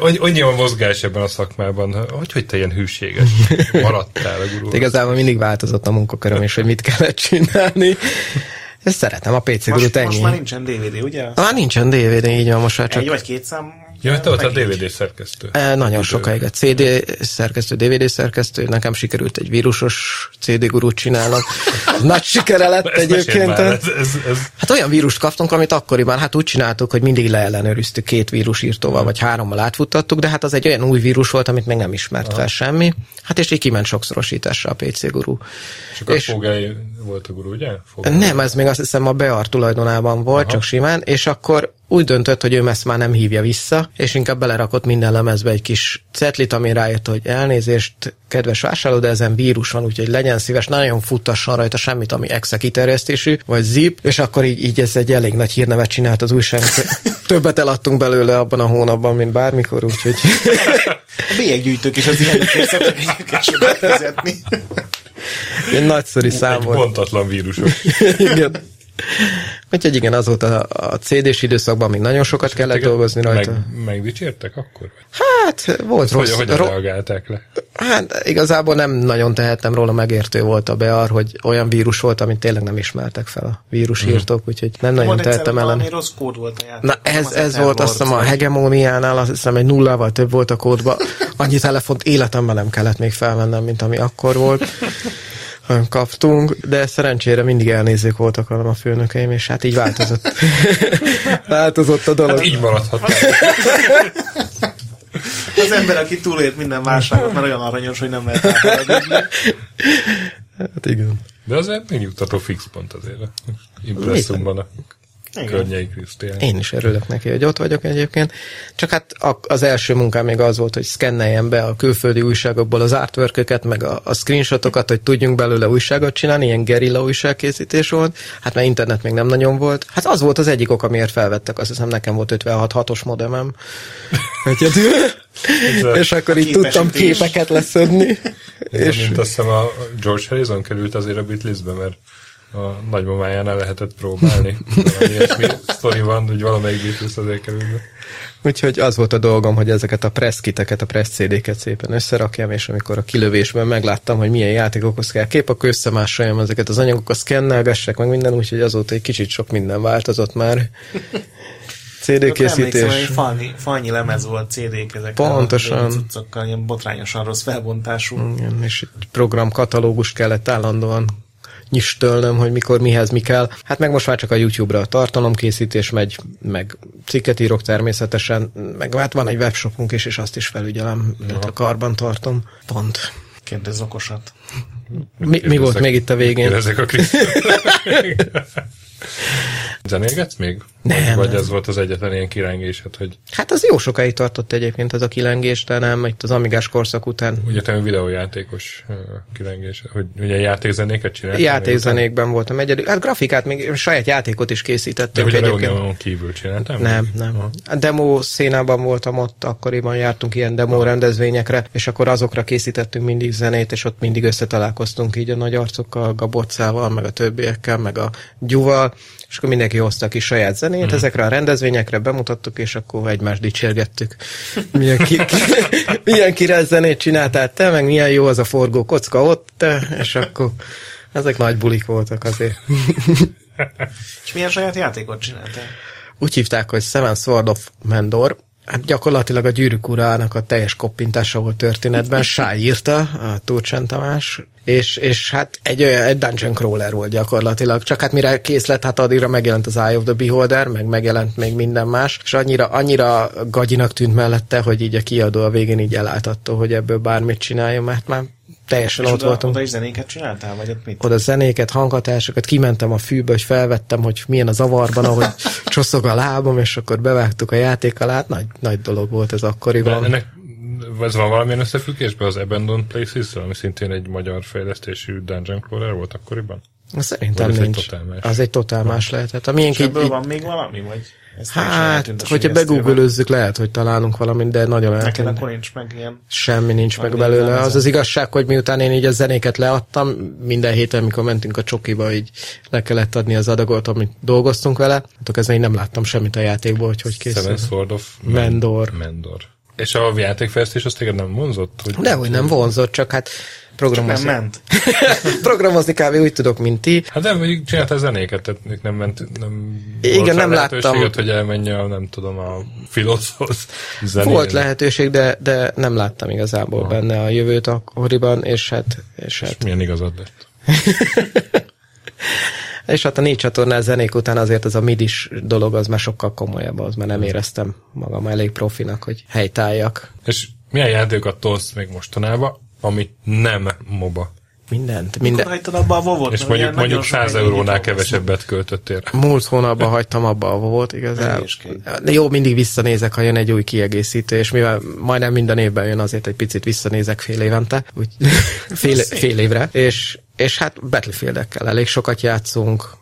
hogy, annyi a mozgás ebben a szakmában, hogy, hogy te ilyen hűséges maradtál a gurú.
Igazából mindig változott a munkaköröm és hogy mit kellett csinálni. Ezt szeretem, a PC gurút
Most, most már
ennyi.
nincsen DVD, ugye?
Már nincsen DVD, így van most már csak
Egy vagy két szám.
Ja, te volt hát a
meg így.
DVD szerkesztő.
E, Nagyon sokáig a CD szerkesztő, DVD szerkesztő, nekem sikerült egy vírusos CD gurút
*laughs*
csinálnom. Nagy sikere lett
Ezt meséld
egyébként.
már, Ez, ez, ez,
Hát olyan vírust kaptunk, amit akkoriban hát úgy csináltuk, hogy mindig leellenőriztük két vírusírtóval, vagy hárommal átfuttattuk, de hát az egy olyan új vírus volt, amit még nem ismert fel semmi. Hát és így kiment sokszorosításra a PC gurú.
csak a
És-
Fogely volt a gurú, ugye? Fogel.
Nem, ez még azt hiszem a Bear tulajdonában volt, Aha. csak simán, és akkor úgy döntött, hogy ő ezt már nem hívja vissza, és inkább belerakott minden lemezbe egy kis cetlit, ami rájött, hogy elnézést, kedves vásárló, de ezen vírus van, úgyhogy legyen szíves, nagyon futtasson rajta semmit, ami exe kiterjesztésű, vagy zip, és akkor így, így ez egy elég nagy hírnevet csinált az újság.
*laughs*
Többet eladtunk belőle abban a hónapban, mint bármikor, úgyhogy...
A bélyeggyűjtők is az ilyenekért szoktak egyébként sokat vezetni.
Egy nagyszerű szám
Egy
volt.
pontatlan vírusok.
*laughs* Igen. Úgyhogy igen, azóta a CD-s időszakban még nagyon sokat kellett dolgozni rajta.
Meg, megdicsértek akkor? Vagy?
Hát, volt
Hogy,
rossz.
hogyan
ro-
reagálták le?
Hát igazából nem nagyon tehettem róla, megértő volt a bear, hogy olyan vírus volt, amit tényleg nem ismertek fel a
Mhm.
vírusírtók, úgyhogy nem nagyon
Volt egyszer
tehettem ellen.
valami rossz kód volt a játék.
Na ez, ez volt azt hiszem a
hegy.
hegemóniánál, azt hiszem egy nullával több volt a kódba.
*laughs*
Annyi telefont életemben nem kellett még felvennem, mint ami akkor
*laughs*
volt. Nem kaptunk, de szerencsére mindig elnézők voltak velem a főnökeim, és hát így
*laughs*
változott. *laughs* változott a dolog.
Hát így maradhatnál.
Az ember, aki túlélt minden válságot, mert olyan aranyos, hogy nem lehet átadni.
Hát igen.
De azért megnyugtató fix pont azért. a Impresszumban a környei Krisztián.
Én is örülök neki, hogy ott vagyok egyébként. Csak hát a- az első munkám még az volt, hogy szkenneljem be a külföldi újságokból az artworköket, meg a, a screenshotokat, hogy tudjunk belőle újságot csinálni, ilyen gerilla újságkészítés volt. Hát mert internet még nem nagyon volt. Hát az volt az egyik ok, miért felvettek, azt hiszem nekem volt 56-os modemem. Egyedül. *laughs* és akkor így tudtam
Képesítés.
képeket leszedni.
És
és
mint azt hiszem a George Harrison került azért a Beatlesbe, mert a nagymamájánál lehetett
*laughs*
próbálni. Valami ilyesmi sztori van, hogy valamelyik Beatles azért került be.
Úgyhogy az volt a dolgom, hogy ezeket a presskiteket, a press CD-ket szépen összerakjam, és amikor a kilövésben megláttam, hogy milyen játékokhoz kell kép, akkor összemásoljam ezeket az anyagokat, szkennelgessek meg minden, úgyhogy azóta egy kicsit sok minden változott már. CD
Emlékszem, hogy
készítés.
falnyi, falnyi lemez volt CD-k ezekkel.
Pontosan. Hmm.
a cuccokkal, ilyen botrányosan rossz felbontású.
Igen, és egy programkatalógus kellett állandóan nyistölnöm, hogy mikor mihez mi kell. Hát meg most már csak a YouTube-ra a tartalomkészítés megy, meg cikket írok természetesen, meg hát van egy webshopunk is, és azt is felügyelem, tehát a karban tartom. Pont.
Kérdezz okosat.
Mi, mi volt még itt a végén?
Ezek a
*laughs*
Krisztián. Zenélgetsz még?
Nem,
Vagy
nem.
ez volt az egyetlen ilyen kirángésed, hogy
Hát az jó sokáig tartott egyébként ez a kilengés, de nem, itt az amigás korszak után.
ugye te videójátékos ö, kirengés, hogy ugye játékzenéket csináltál?
Játékzenékben voltam egyedül. Hát grafikát, még saját játékot is
De
készítettünk
hogy a
egyébként.
Reunion kívül csináltam?
Nem, nem. A demo szénában voltam ott, akkoriban jártunk ilyen demo rendezvényekre, és akkor azokra készítettünk mindig zenét, és ott mindig összetalálkoztunk így a nagy arcokkal, Gaborcával, meg a többiekkel, meg a Gyuval, és akkor mindenki hozta ki saját zenét, mm. ezekre a rendezvényekre bemutattuk, és akkor egymást dicsérgettük. Milyen, ki, ki, *laughs* milyen király zenét csináltál te, meg milyen jó az a forgó kocka ott, te, és akkor ezek nagy bulik voltak azért.
És milyen saját játékot csináltál?
úgy hívták, hogy Seven Sword of Mendor. Hát gyakorlatilag a gyűrűk urának a teljes koppintása volt történetben. Sáj írta, a Turcsán Tamás, és, és hát egy olyan, egy dungeon crawler volt gyakorlatilag. Csak hát mire kész lett, hát addigra megjelent az Eye of the Beholder, meg megjelent még minden más, és annyira, annyira gagyinak tűnt mellette, hogy így a kiadó a végén így elállt attól, hogy ebből bármit csináljon, mert már teljesen
És
ott
oda,
voltam
oda is zenéket csináltál, vagy ott mit?
oda zenéket, hanghatásokat, kimentem a fűbe, hogy felvettem, hogy milyen a zavarban,
*laughs*
ahogy csoszog a lábam, és akkor bevágtuk a játék alát. Nagy, nagy dolog volt ez
De
akkoriban.
ennek ez van valamilyen összefüggésben az Abandoned places ami szintén egy magyar fejlesztésű Dungeon Crawler volt akkoriban?
Szerintem
Vagy ez egy
nincs.
totál más?
Az egy totál más lehetett. A miénk
És
így,
ebből
így,
van még valami, vagy? Ez teljesen eltűnt
hát,
a
hogyha hát-
sülyeztőben.
begúgölözzük, lehet, hogy találunk valamit, de nagyon
Neked
eltűnt.
akkor nincs meg ilyen.
Semmi nincs meg
Annyi nem
belőle. Az
ezen.
az igazság, hogy miután én így a zenéket leadtam, minden héten, mikor mentünk a csokiba, így le kellett adni az adagot, amit dolgoztunk vele, hát attól kezdve én nem láttam semmit a játékból, hogy hogy készül.
Seven Sword of
Mendor.
Mendor. És a játékfejlesztés az téged nem vonzott? Hogy
Dehogy nem vonzott, csak hát
Nem
programozni,
ment.
*laughs* programozni kb. úgy tudok, mint ti.
Hát nem, mondjuk csinálta zenéket, tehát még nem ment, nem
Igen,
volt rá
nem
lehetőséget,
láttam.
hogy elmenje a, nem tudom, a filozhoz zenére.
Volt lehetőség, de, de nem láttam igazából benne a jövőt akkoriban, és hát, és hát,
Milyen igazad lett?
és hát a négy csatornás zenék után azért az a midis dolog az már sokkal komolyabb, az már nem éreztem magam elég profinak, hogy helytálljak.
És milyen játékokat tolsz még mostanában, ami nem MOBA?
Mindent.
Mikor
Minden.
hagytad abba a vovot?
És mondjuk, mondjuk 100 eurónál kevesebbet költöttél.
Múlt hónapban hagytam abba a volt igazából.
Egészként.
De jó, mindig visszanézek, ha jön egy új kiegészítő, és mivel majdnem minden évben jön, azért egy picit visszanézek fél évente, úgy fél, fél évre, és, és hát battlefield elég sokat játszunk,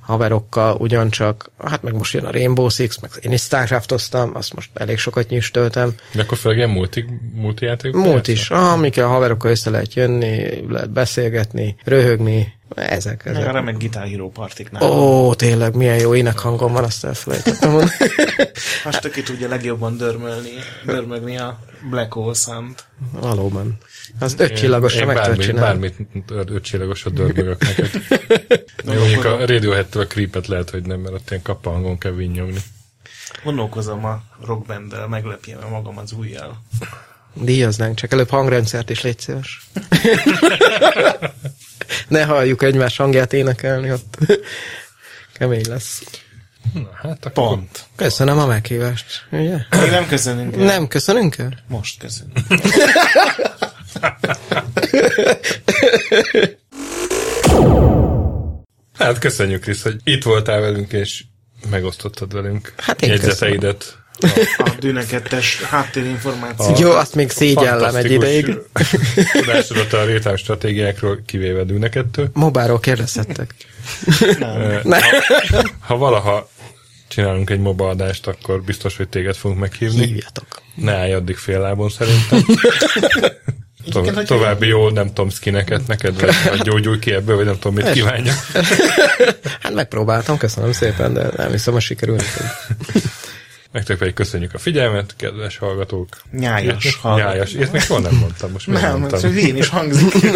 haverokkal ugyancsak, hát meg most jön a Rainbow Six, meg én is Starcraftoztam, azt most elég sokat nyüstöltem.
De akkor főleg ilyen multi, multi játék?
Múlt is, ah, amikkel a haverokkal össze lehet jönni, lehet beszélgetni, röhögni, ezek,
Meg a
ezek.
remek Guitar Hero partiknál. Oh.
Ó, tényleg, milyen jó énekhangom van, azt elfelejtettem mondani.
*laughs*
Azt aki tudja legjobban dörmölni, dörmögni a Black Hole Sound.
Valóban. Az öt csillagosra
Én
meg tudod
bármit,
csinálni.
bármit ötcsillagosat dörgölök neked. Jó, mondjuk a Radiohead-től a creepet lehet, hogy nem, mert ott ilyen kappa hangon kell vinnyogni.
Gondolkozom a rockbenddel, meglepjem magam az ujjal.
Díjaznánk, csak előbb hangrendszert is légy
*laughs*
szíves. ne halljuk egymás hangját énekelni ott. *laughs* Kemény lesz.
Na, hát akkor...
Pont.
Köszönöm a meghívást, ugye?
Még nem köszönünk. el.
Nem, köszönünk el?
Most köszönünk.
Hát köszönjük, Krisz, hogy itt voltál velünk, és megosztottad velünk
Hát én
jegyzeteidet.
A dűnekettes háttérinformáció.
Jó, azt még szégyellem egy
Fantasztikus
ideig.
*laughs* Tudásodat a rétám stratégiákról kivéve dűnekettől.
Mobáról
*laughs*
kérdezhettek.
Nem.
Ha valaha csinálunk egy MOBA adást, akkor biztos, hogy téged fogunk meghívni.
Hívjatok.
Ne állj addig fél lábon szerintem.
Egyébként,
To-
hogy-
további jó, nem tudom, skineket neked, vagy, vagy gyógyulj ki ebből, vagy nem tudom, mit kívánja.
Hát megpróbáltam, köszönöm szépen, de nem hiszem, hogy sikerül nekem.
Nektek pedig köszönjük a figyelmet, kedves hallgatók.
Nyájas hallgató.
Nyájas. Ezt még soha nem mondtam, most miért
Nem, ez
mondtam.
csak én is hangzik.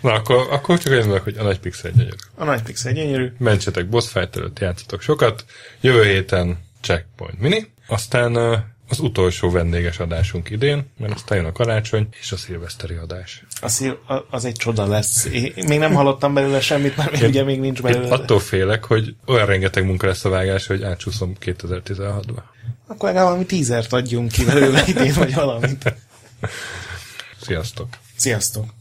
Na, akkor, akkor csak olyan vagyok, hogy a nagy pixel gyönyörű.
A nagy pixel gyönyörű.
Mentsetek boss fight előtt, játszatok sokat. Jövő héten Checkpoint Mini. Aztán ö, az utolsó vendéges adásunk idén, mert aztán jön a karácsony és a szilveszteri adás.
Az, a- az egy csoda lesz. Én még nem hallottam belőle semmit, mert ugye még nincs
Én
belőle.
attól félek, hogy olyan rengeteg munka lesz a vágás, hogy átsúszom 2016-ba.
Akkor legalább
*laughs*
valami tízert adjunk ki belőle idén, vagy valamit.
Sziasztok!
Sziasztok!